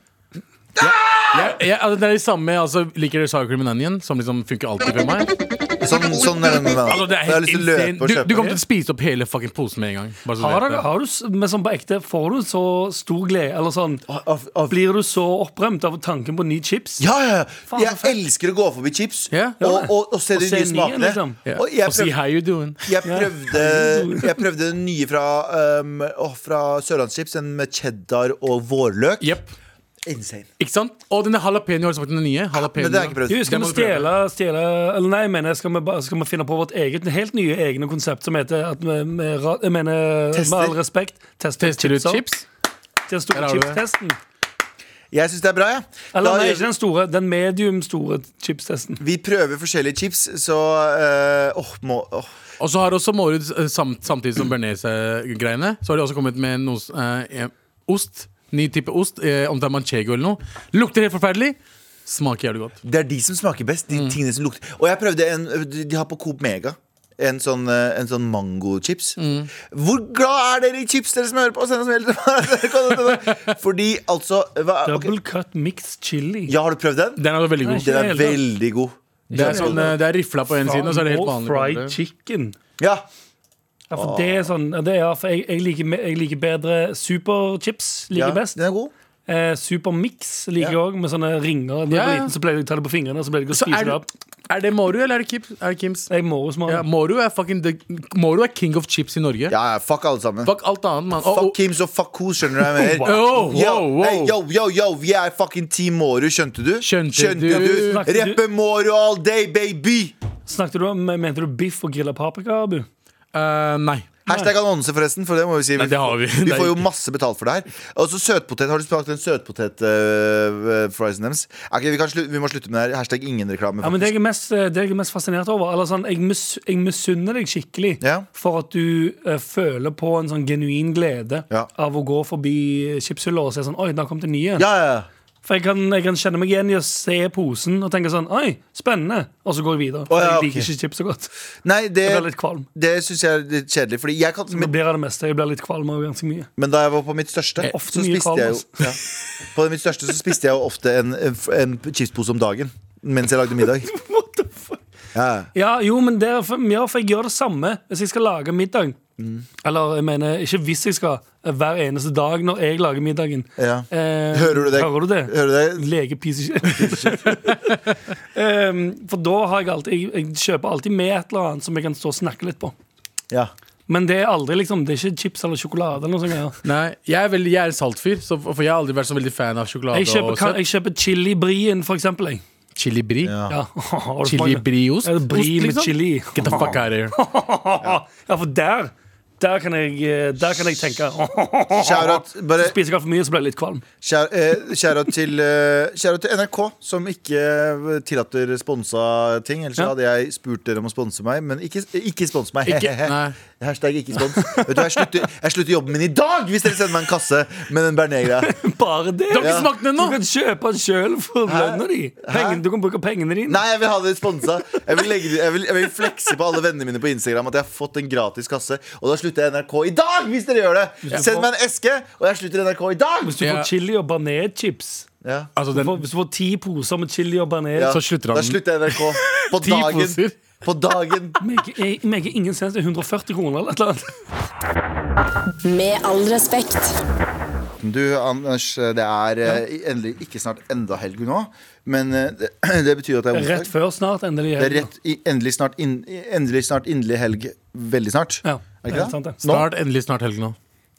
Speaker 4: Jeg, jeg, altså, det er det samme, altså Liker dere sour cream and onion, som liksom funker alltid for meg?
Speaker 2: Sånn, sånn er den. da.
Speaker 4: Altså, det er
Speaker 2: Jeg har
Speaker 4: helt
Speaker 2: lyst til å
Speaker 4: insane.
Speaker 2: løpe og
Speaker 4: Du, du
Speaker 2: kjøpe.
Speaker 4: kommer til å spise opp hele fucking posen med en gang. Bare så du
Speaker 3: Har,
Speaker 4: vet
Speaker 3: dere,
Speaker 4: det.
Speaker 3: har du, s- men sånn på ekte, får du så stor glede? Eller sånn,
Speaker 4: Ah,
Speaker 2: av- av-
Speaker 3: Blir du så opprømt av tanken på nye chips?
Speaker 2: Ja, ja, ja.
Speaker 3: Faen, så
Speaker 2: Jeg
Speaker 3: fett.
Speaker 2: elsker å gå forbi chips
Speaker 4: Ja.
Speaker 2: og, og, og se
Speaker 3: Og
Speaker 2: de
Speaker 3: se
Speaker 2: nye
Speaker 3: nye,
Speaker 2: smakene.
Speaker 3: liksom.
Speaker 4: Ja.
Speaker 2: Og jeg
Speaker 4: Og si
Speaker 2: prøv-
Speaker 4: how you doing.
Speaker 2: jeg prøvde,
Speaker 4: (laughs)
Speaker 2: jeg prøvde den nye fra, um, å, fra Sørlandschips, den med cheddar og vårløk.
Speaker 4: Jepp.
Speaker 2: Insane.
Speaker 4: Ikke sant? Og denne jalapeno, har du smakt den nye? Jalapeno.
Speaker 2: Men det har jeg ikke prøvd.
Speaker 3: Du, skal
Speaker 4: Det må
Speaker 3: vi
Speaker 4: du prøve.
Speaker 3: stjele, stjele Eller nei, jeg mener, skal vi, ba- skal vi finne på vårt eget helt nye egne konsept som heter at vi, vi, ra- Jeg mener,
Speaker 2: Tester.
Speaker 3: med all respekt, tester,
Speaker 4: Tester du
Speaker 3: chipser.
Speaker 4: chips?
Speaker 3: Den
Speaker 4: Der
Speaker 3: store
Speaker 4: har du det.
Speaker 3: chipstesten.
Speaker 2: Jeg syns det er bra, jeg.
Speaker 3: Eller nei, ikke
Speaker 2: Da,
Speaker 3: den store, den medium store chipstesten.
Speaker 2: vi prøver forskjellige chips, så uh, åh, må, åh.
Speaker 4: Og så har også Mårud, eh, sam, samtidig som bearnés-greiene, så har de også kommet med noe s- eh, eh, ost. Ny type ost, eh, om det er manchego eller noe. Lukter helt forferdelig. Smaker jævlig godt.
Speaker 2: Det er de som smaker best.
Speaker 4: Mm.
Speaker 2: De tingene som lukter Og jeg prøvde en De de har på Coop Mega. En sånn, eh, en sånn mangochips.
Speaker 4: Mm.
Speaker 2: Hvor glad er dere i chips, dere som hører på? Send oss mail (laughs) til meg. Fordi altså hva, ok.
Speaker 3: Double cut mixed chili.
Speaker 2: Ja, har du prøvd den?
Speaker 4: Den er veldig god.
Speaker 3: Nei.
Speaker 2: Den er
Speaker 3: Ikke helt, da.
Speaker 2: veldig god.
Speaker 4: Det er, sånn, eh, det er rifla på en side, og så er det helt
Speaker 3: Faen,
Speaker 4: vanlig. på den
Speaker 3: fried
Speaker 4: andre.
Speaker 3: chicken.
Speaker 2: Ja.
Speaker 3: Ja, for det
Speaker 4: Ah.
Speaker 3: er sånn det er, for jeg, jeg, liker, me- jeg liker bedre superchips. Liker
Speaker 2: ja,
Speaker 3: best.
Speaker 2: Den er god.
Speaker 3: Eh, Supermix liker jeg
Speaker 2: Ja.
Speaker 3: òg, med sånne ringer. Da jeg
Speaker 4: Ja,
Speaker 3: var
Speaker 4: ja.
Speaker 3: liten, så pleide jeg å ta det på fingrene. Så pleide jeg å
Speaker 4: Så
Speaker 3: spise
Speaker 4: er
Speaker 3: det
Speaker 4: det,
Speaker 3: opp
Speaker 4: er det Moru eller er det Kips? Er det Kims?
Speaker 3: Jeg må jo smake.
Speaker 4: Ja, Moru er fucking the, Moru er king of chips i Norge.
Speaker 2: Ja, ja, fuck alle sammen.
Speaker 4: Fuck alt annet, mann. Og- og-
Speaker 2: Fuck Kims og fuck who, skjønner du hva jeg mener? Yo,
Speaker 4: Wow. Wow, wow.
Speaker 2: hey, yo, yo, yo, vi er fucking Team Mårud, skjønte du?
Speaker 4: Skjønte
Speaker 2: du?
Speaker 4: du?
Speaker 3: Snakket du-
Speaker 2: Rappe Mårud all day, baby!
Speaker 3: Snakket du om, Mente du biff og grilla paprika, Abu?
Speaker 4: Eh, nei.
Speaker 2: Hashtag annonse, forresten. For det må vi si.
Speaker 4: Nei, det har vi.
Speaker 2: vi
Speaker 4: Det er
Speaker 2: får jo
Speaker 4: ikke-
Speaker 2: masse betalt for det her. Og så søtpotet. Har du smakt den eh, søtpotet-friesen deres? Ok, vi, kan slu- vi må slutte med det her. Hashtag ingen reklame.
Speaker 3: Ja, men det
Speaker 2: faktisk.
Speaker 3: jeg er mest, eh, det jeg er mest fascinert over eller sånn, Jeg, mis, jeg misunner deg skikkelig
Speaker 2: Ja.
Speaker 3: for at du eh, føler på en sånn genuin glede
Speaker 2: Ja.
Speaker 3: av å gå forbi chipshylla og se sånn Oi, der kom det
Speaker 2: ja,
Speaker 3: nye.
Speaker 2: ja, ja.
Speaker 3: For jeg kan, jeg kan kjenne meg igjen i å se posen og tenke sånn Oi, spennende. Og så går jeg videre. For
Speaker 2: Å, ja,
Speaker 3: Jeg
Speaker 2: ok.
Speaker 3: liker ikke chips så godt.
Speaker 2: Nei,
Speaker 3: Jeg blir
Speaker 2: det,
Speaker 3: litt kvalm.
Speaker 2: det syns jeg er litt kjedelig. Fordi jeg kan,
Speaker 3: Det
Speaker 2: men,
Speaker 3: blir av det meste. Jeg blir litt kvalm av ganske mye.
Speaker 2: men da jeg var på mitt største,
Speaker 3: Jeg er ofte
Speaker 2: så
Speaker 3: mye
Speaker 2: spiste jeg jo
Speaker 3: kvalm, altså.
Speaker 2: ja. På mitt største så spiste jeg jo ofte en, en, en chipspose om dagen mens jeg lagde middag.
Speaker 3: (laughs) What the fuck?
Speaker 2: Ja.
Speaker 3: Ja, jo, men det, er for- ja, for jeg gjør det samme hvis jeg skal lage middag.
Speaker 2: Mm.
Speaker 3: Eller jeg mener, ikke hvis jeg skal. Hver eneste dag når jeg lager middagen.
Speaker 2: Ja.
Speaker 3: Eh,
Speaker 2: Hører du det?
Speaker 3: Hører du det?
Speaker 2: Hører du det?
Speaker 3: Lege piece of shit. (laughs) Ehm, for da har jeg alltid jeg, jeg kjøper alltid med et eller annet som jeg kan stå og snakke litt på.
Speaker 2: Ja.
Speaker 3: Men det er aldri liksom, det er ikke chips eller sjokolade. eller noe sånt greier.
Speaker 4: Nei, jeg er, veldig, jeg er en saltfyr, så, for jeg har aldri vært så veldig fan av sjokolade
Speaker 3: Jeg kjøper,
Speaker 4: og
Speaker 3: kan,
Speaker 4: søtt.
Speaker 3: jeg kjøper chili brien, for eksempel. Jeg.
Speaker 4: Chili brie.
Speaker 3: Ja. (laughs) Har du
Speaker 4: Chili
Speaker 3: smakt det?
Speaker 4: brieost.
Speaker 3: Er det brie
Speaker 4: Ost,
Speaker 3: med
Speaker 4: liksom?
Speaker 3: chili. (laughs)
Speaker 4: Get the fuck out of here.
Speaker 3: Ja, for der Der kan jeg, eh, der kan jeg tenke (laughs)
Speaker 2: Shout-out bare,
Speaker 3: Spiser jeg altfor mye, så blir jeg litt kvalm.
Speaker 2: shout, eh, shout-out (laughs) til, eh, shout-out til NRK, som ikke eh, tillater sponsa ting. Ellers så
Speaker 3: Ja.
Speaker 2: hadde jeg spurt dere om å sponse meg, men ikke, ikke spons meg.
Speaker 4: Ikke-
Speaker 2: (laughs)
Speaker 4: nei.
Speaker 2: Hashtag ikke spons. Vet du, jeg, slutter, jeg slutter jobben min i dag hvis dere sender meg en kasse med den bearnés-greia.
Speaker 3: Bare det!
Speaker 4: Du har ikke smakt den
Speaker 3: Du
Speaker 4: ennå!
Speaker 3: kan kjøpe den sjøl for lønna di. Pengene- Du kan bruke pengene dine.
Speaker 2: Nei, jeg vil ha det sponsa. Jeg vil, legge, jeg, vil, jeg vil flekse på alle vennene mine på Instagram at jeg har fått en gratis kasse. Og da slutter jeg i NRK i dag, hvis dere gjør det! Send meg en eske, og jeg slutter i NRK i dag!
Speaker 3: Hvis du
Speaker 4: Ja.
Speaker 3: får chili og banerchips
Speaker 2: Ja.
Speaker 4: Altså, den,
Speaker 3: Hvis du får ti poser med chili og baner
Speaker 2: Ja.
Speaker 4: Så slutter
Speaker 2: Da
Speaker 4: han.
Speaker 2: slutter jeg i NRK. På
Speaker 4: (laughs) Ti
Speaker 2: dagen.
Speaker 4: poser.
Speaker 2: På dagen.
Speaker 3: Meg jeg- meg er ingen sens til 140 kroner eller et eller annet.
Speaker 10: Med all respekt.
Speaker 2: Du, Anders, det er eh, endelig ikke snart enda helg nå, men eh, (clears throat) det, det betyr at det er
Speaker 3: Rett
Speaker 2: onsdag.
Speaker 3: før snart, endelig.
Speaker 2: Det er rett, i- endelig snart, inn, endelig snart inderlig helg. Veldig snart.
Speaker 3: Ja,
Speaker 2: Er det
Speaker 3: det
Speaker 2: ikke
Speaker 3: er sant det.
Speaker 2: det? Nå?
Speaker 4: snart, endelig snart helg nå.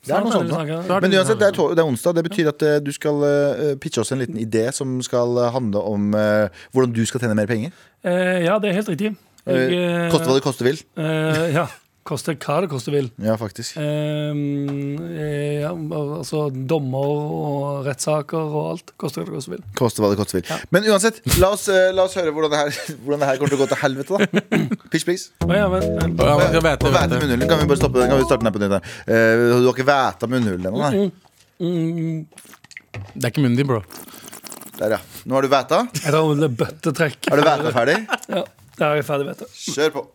Speaker 2: Det er noe sånt. nå.
Speaker 3: Snart,
Speaker 4: Snart
Speaker 2: Men
Speaker 4: endelig
Speaker 2: uansett, det
Speaker 4: helg
Speaker 2: er, to- det er onsdag. Det betyr at eh, du skal eh, pitche oss en liten idé som skal eh, handle om eh, hvordan du skal tjene mer penger.
Speaker 3: Eh, ja, det er helt riktig. Jeg,
Speaker 2: Eh, koste hva det koste vil.
Speaker 3: eh, ja. Koste hva det koste vil.
Speaker 2: Ja, faktisk.
Speaker 3: Ehm, eh, ja, altså dommer og rettssaker og alt. Koster hva det koster vil.
Speaker 2: Koste hva det koste vil. Men uansett, la oss, eh, la oss høre hvordan det, her, (laughs) hvordan det her kommer til å gå til helvete, da.
Speaker 3: (clears throat)
Speaker 2: Pitch, please.
Speaker 3: Å ja, men,
Speaker 4: Ja, man skal
Speaker 2: Og væte
Speaker 4: vete, vete.
Speaker 2: munnhulen. Kan vi bare stoppe den? Kan vi starte den her på nytt? her? Eh, du har ikke væta munnhulen ennå, nei?
Speaker 3: mm,
Speaker 4: Det er ikke munnen din, bro.
Speaker 2: Der, ja. Nå har du væta.
Speaker 3: jeg tar vel bøttetrekk.
Speaker 2: Er du væta ferdig?
Speaker 3: Ja, der er jeg ferdig, vet du.
Speaker 2: Kjør på.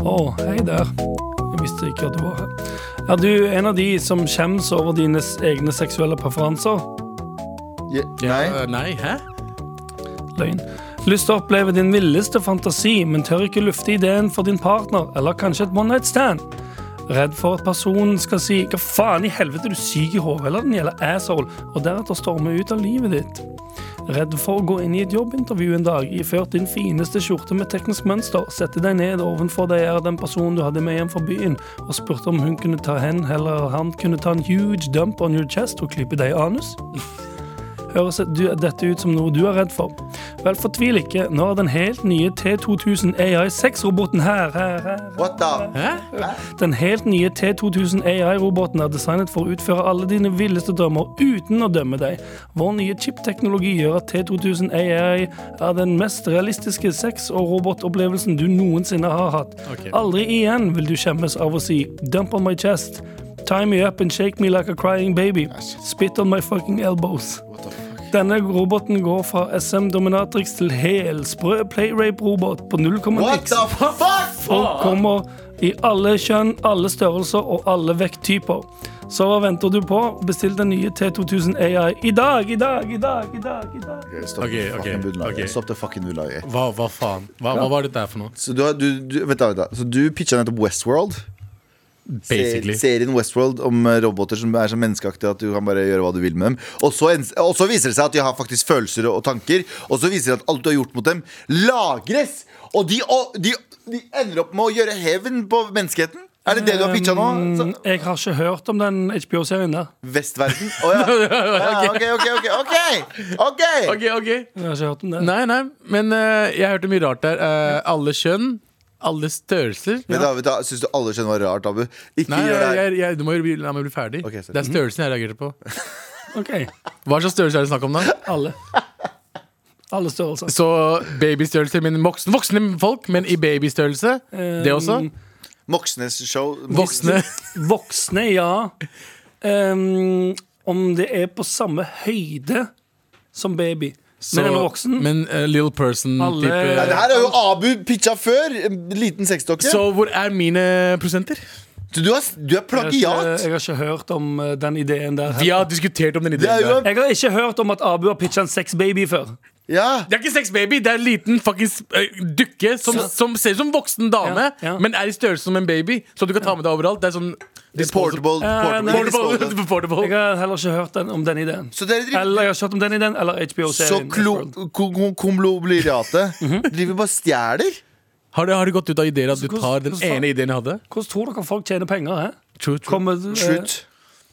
Speaker 3: Å, hei der. Jeg visste ikke at du var her. Er du en av de som skjems over dine s- egne seksuelle preferanser?
Speaker 2: Je-
Speaker 4: Ja,
Speaker 2: Nei.
Speaker 4: eh, nei, hæ?
Speaker 3: Løgn. Lyst til å oppleve din villeste fantasi, men tør ikke lufte ideen for din partner, eller kanskje et one night stand. Redd for at personen skal si 'hva faen i helvete, er du syk i hodet', eller 'den gjelder asshole', og deretter storme ut av livet ditt. Redd for å gå inn i et jobbintervju en dag, iført din fineste skjorte med teknisk mønster, sette deg ned ovenfor deg er den personen du hadde med hjem fra byen, og spurte om hun kunne ta hen, eller han kunne ta en huge dump on your chest og klippe deg i anus? (laughs) Høres du- dette ut som noe du er redd for? Vel, fortvil ikke. Nå er den helt nye T2000 AI6-roboten her, her, her.
Speaker 2: What the?
Speaker 3: Den helt nye T2000 AI-roboten er designet for å utføre alle dine villeste drømmer uten å dømme deg. Vår nye chip-teknologi gjør at T2000 AI er den mest realistiske sex- og robotopplevelsen du noensinne har hatt.
Speaker 4: Ok.
Speaker 3: Aldri igjen vil du skjemmes av å si 'dump on my chest'. Tie me up and shake me like a crying baby. Spit on my fucking elbows. Denne roboten går fra SM Dominatrix til helsprø playrape-robot på
Speaker 2: What
Speaker 3: 0,x
Speaker 2: the fuck?
Speaker 3: og kommer i alle kjønn, alle størrelser og alle vekttyper. Så hva venter du på? Bestill den nye T2000 AI i dag, i dag, i dag, i dag. i dag.
Speaker 2: Stopp
Speaker 4: Ok,
Speaker 2: det fucking
Speaker 4: ok,
Speaker 2: bunnlaget.
Speaker 4: ok.
Speaker 2: Stopp det fucking bunnlaget.
Speaker 4: Hva, hva faen? Hva, hva var dette her for noe?
Speaker 2: Så du, har- du, du, vent da, vent da. Så du pitcha nettopp Westworld?
Speaker 4: Basically.
Speaker 2: Se- Serien Westworld om eh, roboter som er så menneskeaktige at du kan bare gjøre hva du vil med dem. Og så, ens- og så viser det seg at de har faktisk følelser og tanker. Og så viser det seg at alt du har gjort mot dem, lagres! Og de, og, de, de ender opp med å gjøre hevn på menneskeheten. Er det det du har pitcha nå? Så,
Speaker 3: Mm, Jeg har ikke hørt om den HBO-serien der.
Speaker 2: Vestverden? Å ja. ja. Ok, ok, ok. ok, ok
Speaker 4: Ok, ok
Speaker 3: Jeg har ikke hørt om det.
Speaker 4: Nei, nei, men eh, jeg hørte mye rart der. Eh, alle kjønn, alle størrelser.
Speaker 2: Vet du, hva, vet du, hva, Syns du alle skjønner hva rart, Abu? Ikke
Speaker 4: Nei,
Speaker 2: gjør det
Speaker 4: jeg,
Speaker 2: her.
Speaker 4: jeg, jeg, du må jo bli- la meg bli ferdig.
Speaker 2: Ok, Mhm. sorry.
Speaker 4: det er størrelsen jeg reagerte på.
Speaker 3: OK.
Speaker 4: Hva slags størrelse er det snakk om, da?
Speaker 3: Alle. Alle størrelser.
Speaker 4: Så babystørrelse, men voksne, voksne folk, men i babystørrelse. Det også.
Speaker 3: Um,
Speaker 2: Moxnes show.
Speaker 4: Voksne.
Speaker 3: Voksne, ja. Um, om det er på samme høyde som baby.
Speaker 4: Så,
Speaker 3: men en voksen
Speaker 4: Men eh, little person.
Speaker 3: Alle-
Speaker 2: Nei, det
Speaker 4: Type.
Speaker 2: her er jo Abu pitcha før! En Liten sexdokke.
Speaker 4: Så hvor er mine prosenter?
Speaker 2: Du, du, er, du er
Speaker 3: jeg, har ikke,
Speaker 2: plagiat!
Speaker 3: jeg har ikke hørt om eh, den ideen der.
Speaker 4: Vi har diskutert om den
Speaker 2: Det er
Speaker 4: ideen.
Speaker 2: jo
Speaker 4: der.
Speaker 2: en,
Speaker 3: Jeg har ikke hørt om at Abu har pitcha en sexbaby før.
Speaker 2: ja.
Speaker 4: Det er ikke sexbaby, det er en liten fuckings eh, dukke som, som ser ut som voksen dame,
Speaker 3: Ja, ja.
Speaker 4: men er i størrelse som en baby. Så du kan ta med deg overalt. Det er sånn
Speaker 2: Portable,
Speaker 3: nei.
Speaker 2: portable,
Speaker 3: (laughs)
Speaker 2: disposable.
Speaker 4: Portable.
Speaker 3: Jeg
Speaker 4: (laughs) portable.
Speaker 3: har heller ikke hørt den, om den ideen.
Speaker 2: Så dere driver
Speaker 3: Eller jeg har ikke hørt om den ideen, eller
Speaker 2: Så
Speaker 3: HBO-serien. Westworld.
Speaker 2: komlobliriatet
Speaker 3: (laughs) Mhm.
Speaker 2: driver bare og stjeler?
Speaker 4: Har det, har det gått ut av ideer at du tar den
Speaker 3: hvordan-
Speaker 4: ene ideen jeg hadde?
Speaker 3: Hvordan tror dere folk tjener penger? He?
Speaker 4: True, true.
Speaker 3: Kommer, eh,
Speaker 2: Truth.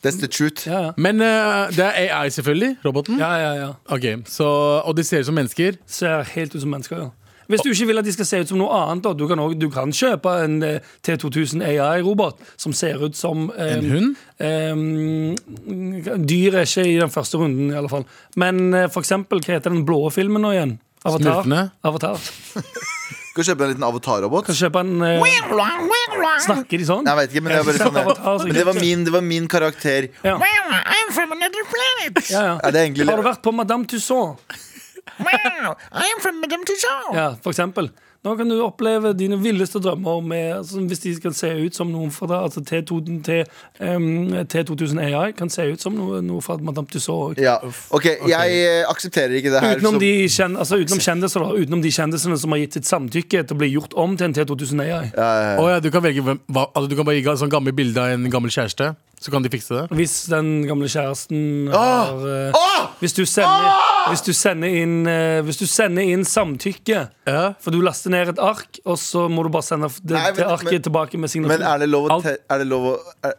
Speaker 2: That's the truth.
Speaker 3: Ja, ja.
Speaker 4: Men eh, det er AI, selvfølgelig. Roboten.
Speaker 3: ja, ja, ja.
Speaker 4: Ok, så, Og de ser ut som mennesker.
Speaker 3: Ser helt ut som mennesker, ja. Hvis du ikke vil at de skal se ut som noe annet, da, du kan, også, du kan kjøpe en eh, T2000 AI-robot som ser ut som eh,
Speaker 4: En hund?
Speaker 3: eh, dyr er ikke i den første runden, i alle fall. Men eh, for eksempel, hva heter den blå filmen nå igjen? Avatar.
Speaker 4: Smurfene?
Speaker 3: Avatar.
Speaker 2: Skal vi kjøpe en liten avatar-robot?
Speaker 3: Kan kjøpe en eh, Snakker de sånn?
Speaker 2: Nei, jeg vet ikke, men det, er bare sånn
Speaker 3: Avatar,
Speaker 2: her.
Speaker 3: så
Speaker 2: men det, var,
Speaker 3: ikke-
Speaker 2: min, det var min karakter.
Speaker 3: Ja.
Speaker 11: I'm from another planet.
Speaker 3: Ja,
Speaker 2: Ja,
Speaker 3: ja.
Speaker 2: det er egentlig
Speaker 3: Har du vært på Madame Tussauds?
Speaker 11: Wow, I'm from Madame Tussauds.
Speaker 3: Ja, for eksempel. Nå kan du oppleve dine villeste drømmer med, altså, hvis de kan se ut som noen fra altså, T2, T, em, T2000 AI kan se ut som noe, noe fra Madame Tussauds.
Speaker 2: ja. Ok, jeg eh, aksepterer ikke det her.
Speaker 3: Utenom,
Speaker 2: som-
Speaker 3: de kjen, altså, utenom, kjendiser, da, utenom de kjendisene som har gitt sitt samtykke til å bli gjort om til en T2000 AI.
Speaker 4: Å ja, du kan velge hvem hva, altså, Du kan bare gi et sånt gammelt bilde av en gammel kjæreste, så kan de fikse det.
Speaker 3: Hvis den gamle kjæresten
Speaker 2: Ah!
Speaker 3: har eh, hvis, du sender, hvis, du sender inn, eh, hvis du sender inn samtykke
Speaker 4: Ja.
Speaker 3: For du laster ned et ark, og så må du bare sende det
Speaker 2: Nei, men-
Speaker 3: til arket
Speaker 2: men-
Speaker 3: tilbake med signatur.
Speaker 2: Men er det lov å,
Speaker 3: Alt-
Speaker 2: te er det lov å er,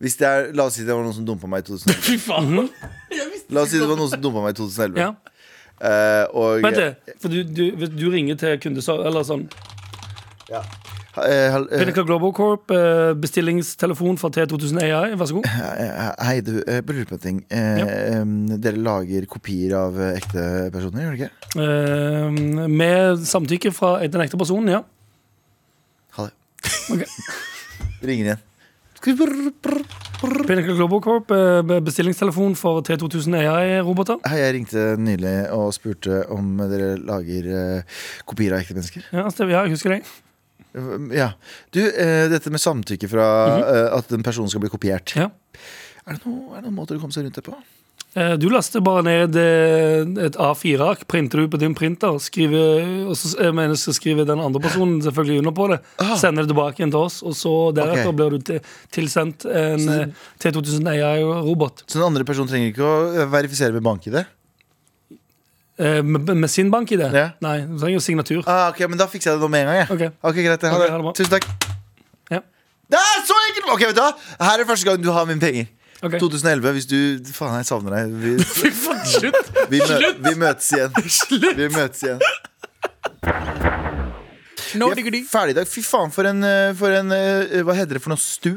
Speaker 2: Hvis det er La oss si det var noen som dumpa meg i 2011.
Speaker 4: Fy faen!
Speaker 2: Mhm. La oss si det var noen som dumpa meg i 2011.
Speaker 3: Ja.
Speaker 2: Eh, og
Speaker 3: Vent litt, for du, du, du ringer til kundesorg... Eller sånn.
Speaker 2: ja. Eh, hall- eh,
Speaker 3: Pinnacle Global Corp, eh, bestillingstelefon fra T2000 AI, vær
Speaker 2: (laughs)
Speaker 3: så god.
Speaker 2: eh, Hei, du. Jeg lurer på en ting. Eh,
Speaker 3: Ja.
Speaker 2: em, Dere lager kopier av eh, ekte personer, gjør dere ikke?
Speaker 3: Eh, med samtykke fra den ekte personen, ja.
Speaker 2: Ha det.
Speaker 3: Ok.
Speaker 2: (laughs) Ringer igjen.
Speaker 3: Pinnacle Global Corp, eh, be- bestillingstelefon for T2000 AI-roboter.
Speaker 2: Hei, jeg ringte nylig og spurte om dere lager eh, kopier av ekte mennesker.
Speaker 3: Ja, Steve, ja, jeg husker det.
Speaker 2: Ja. Du, eh, dette med samtykke fra eh, at en person skal bli kopiert.
Speaker 3: Mhm. Ja.
Speaker 2: Er, det noe, er det noen måter å komme seg rundt det på?
Speaker 3: Eh, Du laster bare ned eh, et A4-ark, printer du på din printer, skriver, og så jeg mener, så skriver den andre personen selvfølgelig under på det, sender det tilbake igjen til oss, og så deretter
Speaker 2: Ah. Ok.
Speaker 3: blir du til- tilsendt en eh, T2000 AI-robot.
Speaker 2: Så den andre personen trenger ikke å eh, verifisere med bank-ID?
Speaker 3: Eh, med, med sin bank i det?
Speaker 2: Ja.
Speaker 3: Nei, du trenger jo signatur.
Speaker 2: Ah, ok, men da fikser jeg det nå med en gang. jeg
Speaker 3: Ok.
Speaker 2: Ok, greit, ha
Speaker 3: Ok,
Speaker 2: det.
Speaker 3: ha det bra.
Speaker 2: Tusen takk.
Speaker 3: Ja.
Speaker 2: Det er så enkelt! Ok, vet du hva? Her er første gang du har mine penger.
Speaker 3: Ok. (laughs)
Speaker 2: 2011, hvis du Faen, jeg savner deg. Vi,
Speaker 4: Fy faen, slutt!
Speaker 2: vi, mø vi møtes
Speaker 3: (laughs)
Speaker 2: igjen. Vi møtes igjen. Vi
Speaker 4: No,
Speaker 2: er
Speaker 4: diggity.
Speaker 2: ferdig i dag. Fy faen, for en, eh, for en eh, Hva heter det for noe? Stu?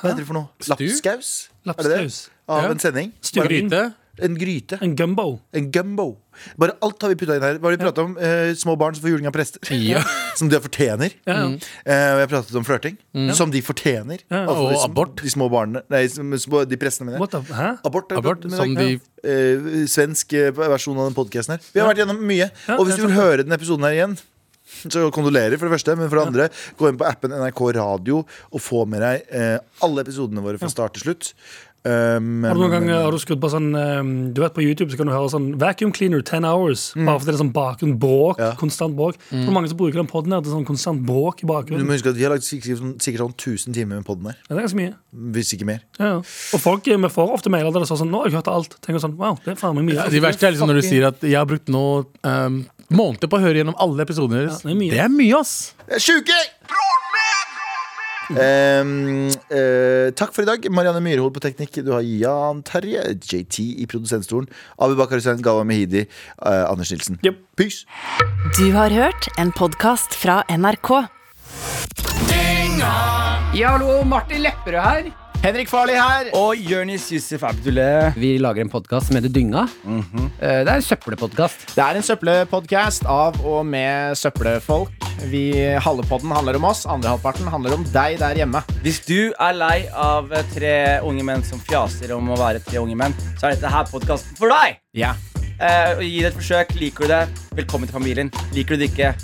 Speaker 2: Hva heter det for noe? Lapskaus? Er det det?
Speaker 3: Lapskaus.
Speaker 2: Av
Speaker 4: Ja.
Speaker 2: en sending?
Speaker 3: Styring.
Speaker 4: Gryte.
Speaker 2: En gryte.
Speaker 3: En gumbo.
Speaker 2: En gumbo. Bare alt har vi putta inn her. Hva har vi pratet om? Eh, små barn som får juling av
Speaker 3: (laughs)
Speaker 2: prester.
Speaker 4: Ja.
Speaker 2: Som de fortjener.
Speaker 3: Ja, ja.
Speaker 2: Eh, og jeg pratet om flørting. Som de fortjener.
Speaker 3: Ja.
Speaker 2: Altså, de
Speaker 4: Og
Speaker 2: sm-
Speaker 4: abort.
Speaker 2: De små barna Nei, som- små, de prestene mine.
Speaker 3: What the, hæ?
Speaker 2: Abort, har vi
Speaker 4: Abort,
Speaker 2: pratet om i
Speaker 4: som
Speaker 2: dag.
Speaker 4: de-
Speaker 2: Eh, svensk eh, versjon av den podkasten her. Vi har vært gjennom mye.
Speaker 3: Ja,
Speaker 2: og hvis
Speaker 3: jeg
Speaker 2: du vil høre den episoden her igjen, så kondolerer, for det første. Men for det andre, gå inn på appen NRK Radio og få med deg eh, alle episodene våre fra start til slutt. Um,
Speaker 3: Har du noen gang eh, har du skrudd på sånn eh, Du vet på YouTube så kan du høre sånn vacuum cleaner 10 hours. Bare fordi det er sånn bakgrunn, bråk,
Speaker 2: Mm. Ja.
Speaker 3: konstant bråk. Så Det er mange som bruker den podden her til sånn konstant bråk i
Speaker 2: Du
Speaker 3: bakgrunnen.
Speaker 2: må huske at Vi har lagt sikkert, sånn- sikkert sånn 1000 timer med podden her.
Speaker 3: Ja, det er ganske mye.
Speaker 2: Hvis ikke mer.
Speaker 3: Ja, ja. Og folk eh, vi får ofte mailer der det står sånn Nå har jeg hørt alt. Tenker sånn, wow, det er faen meg mye.
Speaker 4: Ja, Det verste er liksom når du sier at jeg har brukt nå um, måneder på å høre gjennom alle episoder deres.
Speaker 3: Ja, det er mye.
Speaker 4: det er mye, ass!
Speaker 2: Jeg er sjuke! Um, eh, takk for i dag. Marianne Myrhol på teknikk. Du har Jan Terje, JT i produsentstolen. Abu Bakar Hussein, Galva Mehidi, eh, Anders Nilsen.
Speaker 3: Jep.
Speaker 2: Peace!
Speaker 1: Du har hørt en podkast fra NRK.
Speaker 4: Ja, hallo, Martin Lepperød her.
Speaker 12: Henrik Farli her.
Speaker 13: Og Jonis Yusuf Abdullah.
Speaker 4: Vi lager en podkast som heter Dynga. Eh, Det er en søppelpodkast.
Speaker 12: Det er en søppelpodkast av og med søppelfolk. Vi, halve podden handler om oss, andre halvparten handler om deg der hjemme.
Speaker 13: Hvis du er lei av eh, tre unge menn som fjaser om å være tre unge menn, så er dette her podkasten for deg!
Speaker 12: Ja.
Speaker 13: Eh, og gi det et forsøk. Liker du det, velkommen til familien. Liker du det ikke,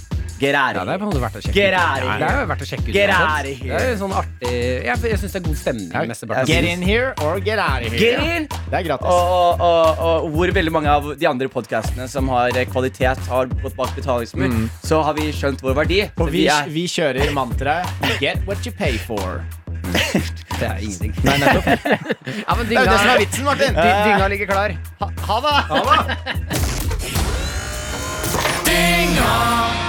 Speaker 13: get out
Speaker 4: Ja,
Speaker 13: of
Speaker 4: det er på en måte verdt å sjekke
Speaker 13: Get
Speaker 4: ut. Ja,
Speaker 13: out of here.
Speaker 4: Det er jo verdt å sjekke ut.
Speaker 13: Get
Speaker 4: uansett.
Speaker 13: out of here.
Speaker 4: Det er jo sånn artig Jeg, jeg syns det er god stemning. mesteparten.
Speaker 12: Get in here or get out of here.
Speaker 13: Get in!
Speaker 12: Det er gratis.
Speaker 13: Og, og, og, og hvor veldig mange av de andre podkastene som har eh, kvalitet, har gått bak betalingsmur,
Speaker 12: Mm.
Speaker 13: så har vi skjønt vår verdi.
Speaker 12: Og
Speaker 13: Så
Speaker 12: vi,
Speaker 13: er-
Speaker 12: vi kjører mantraet Get what you pay
Speaker 13: (laughs)
Speaker 12: for.
Speaker 4: Det er ingenting.
Speaker 12: Nei, nettopp.
Speaker 4: Ja, men
Speaker 12: Det er jo det som er vitsen, Martin.
Speaker 4: Dy- Dynga ligger klar. Ha, ha det!
Speaker 12: Ha
Speaker 4: det.
Speaker 10: Dynga!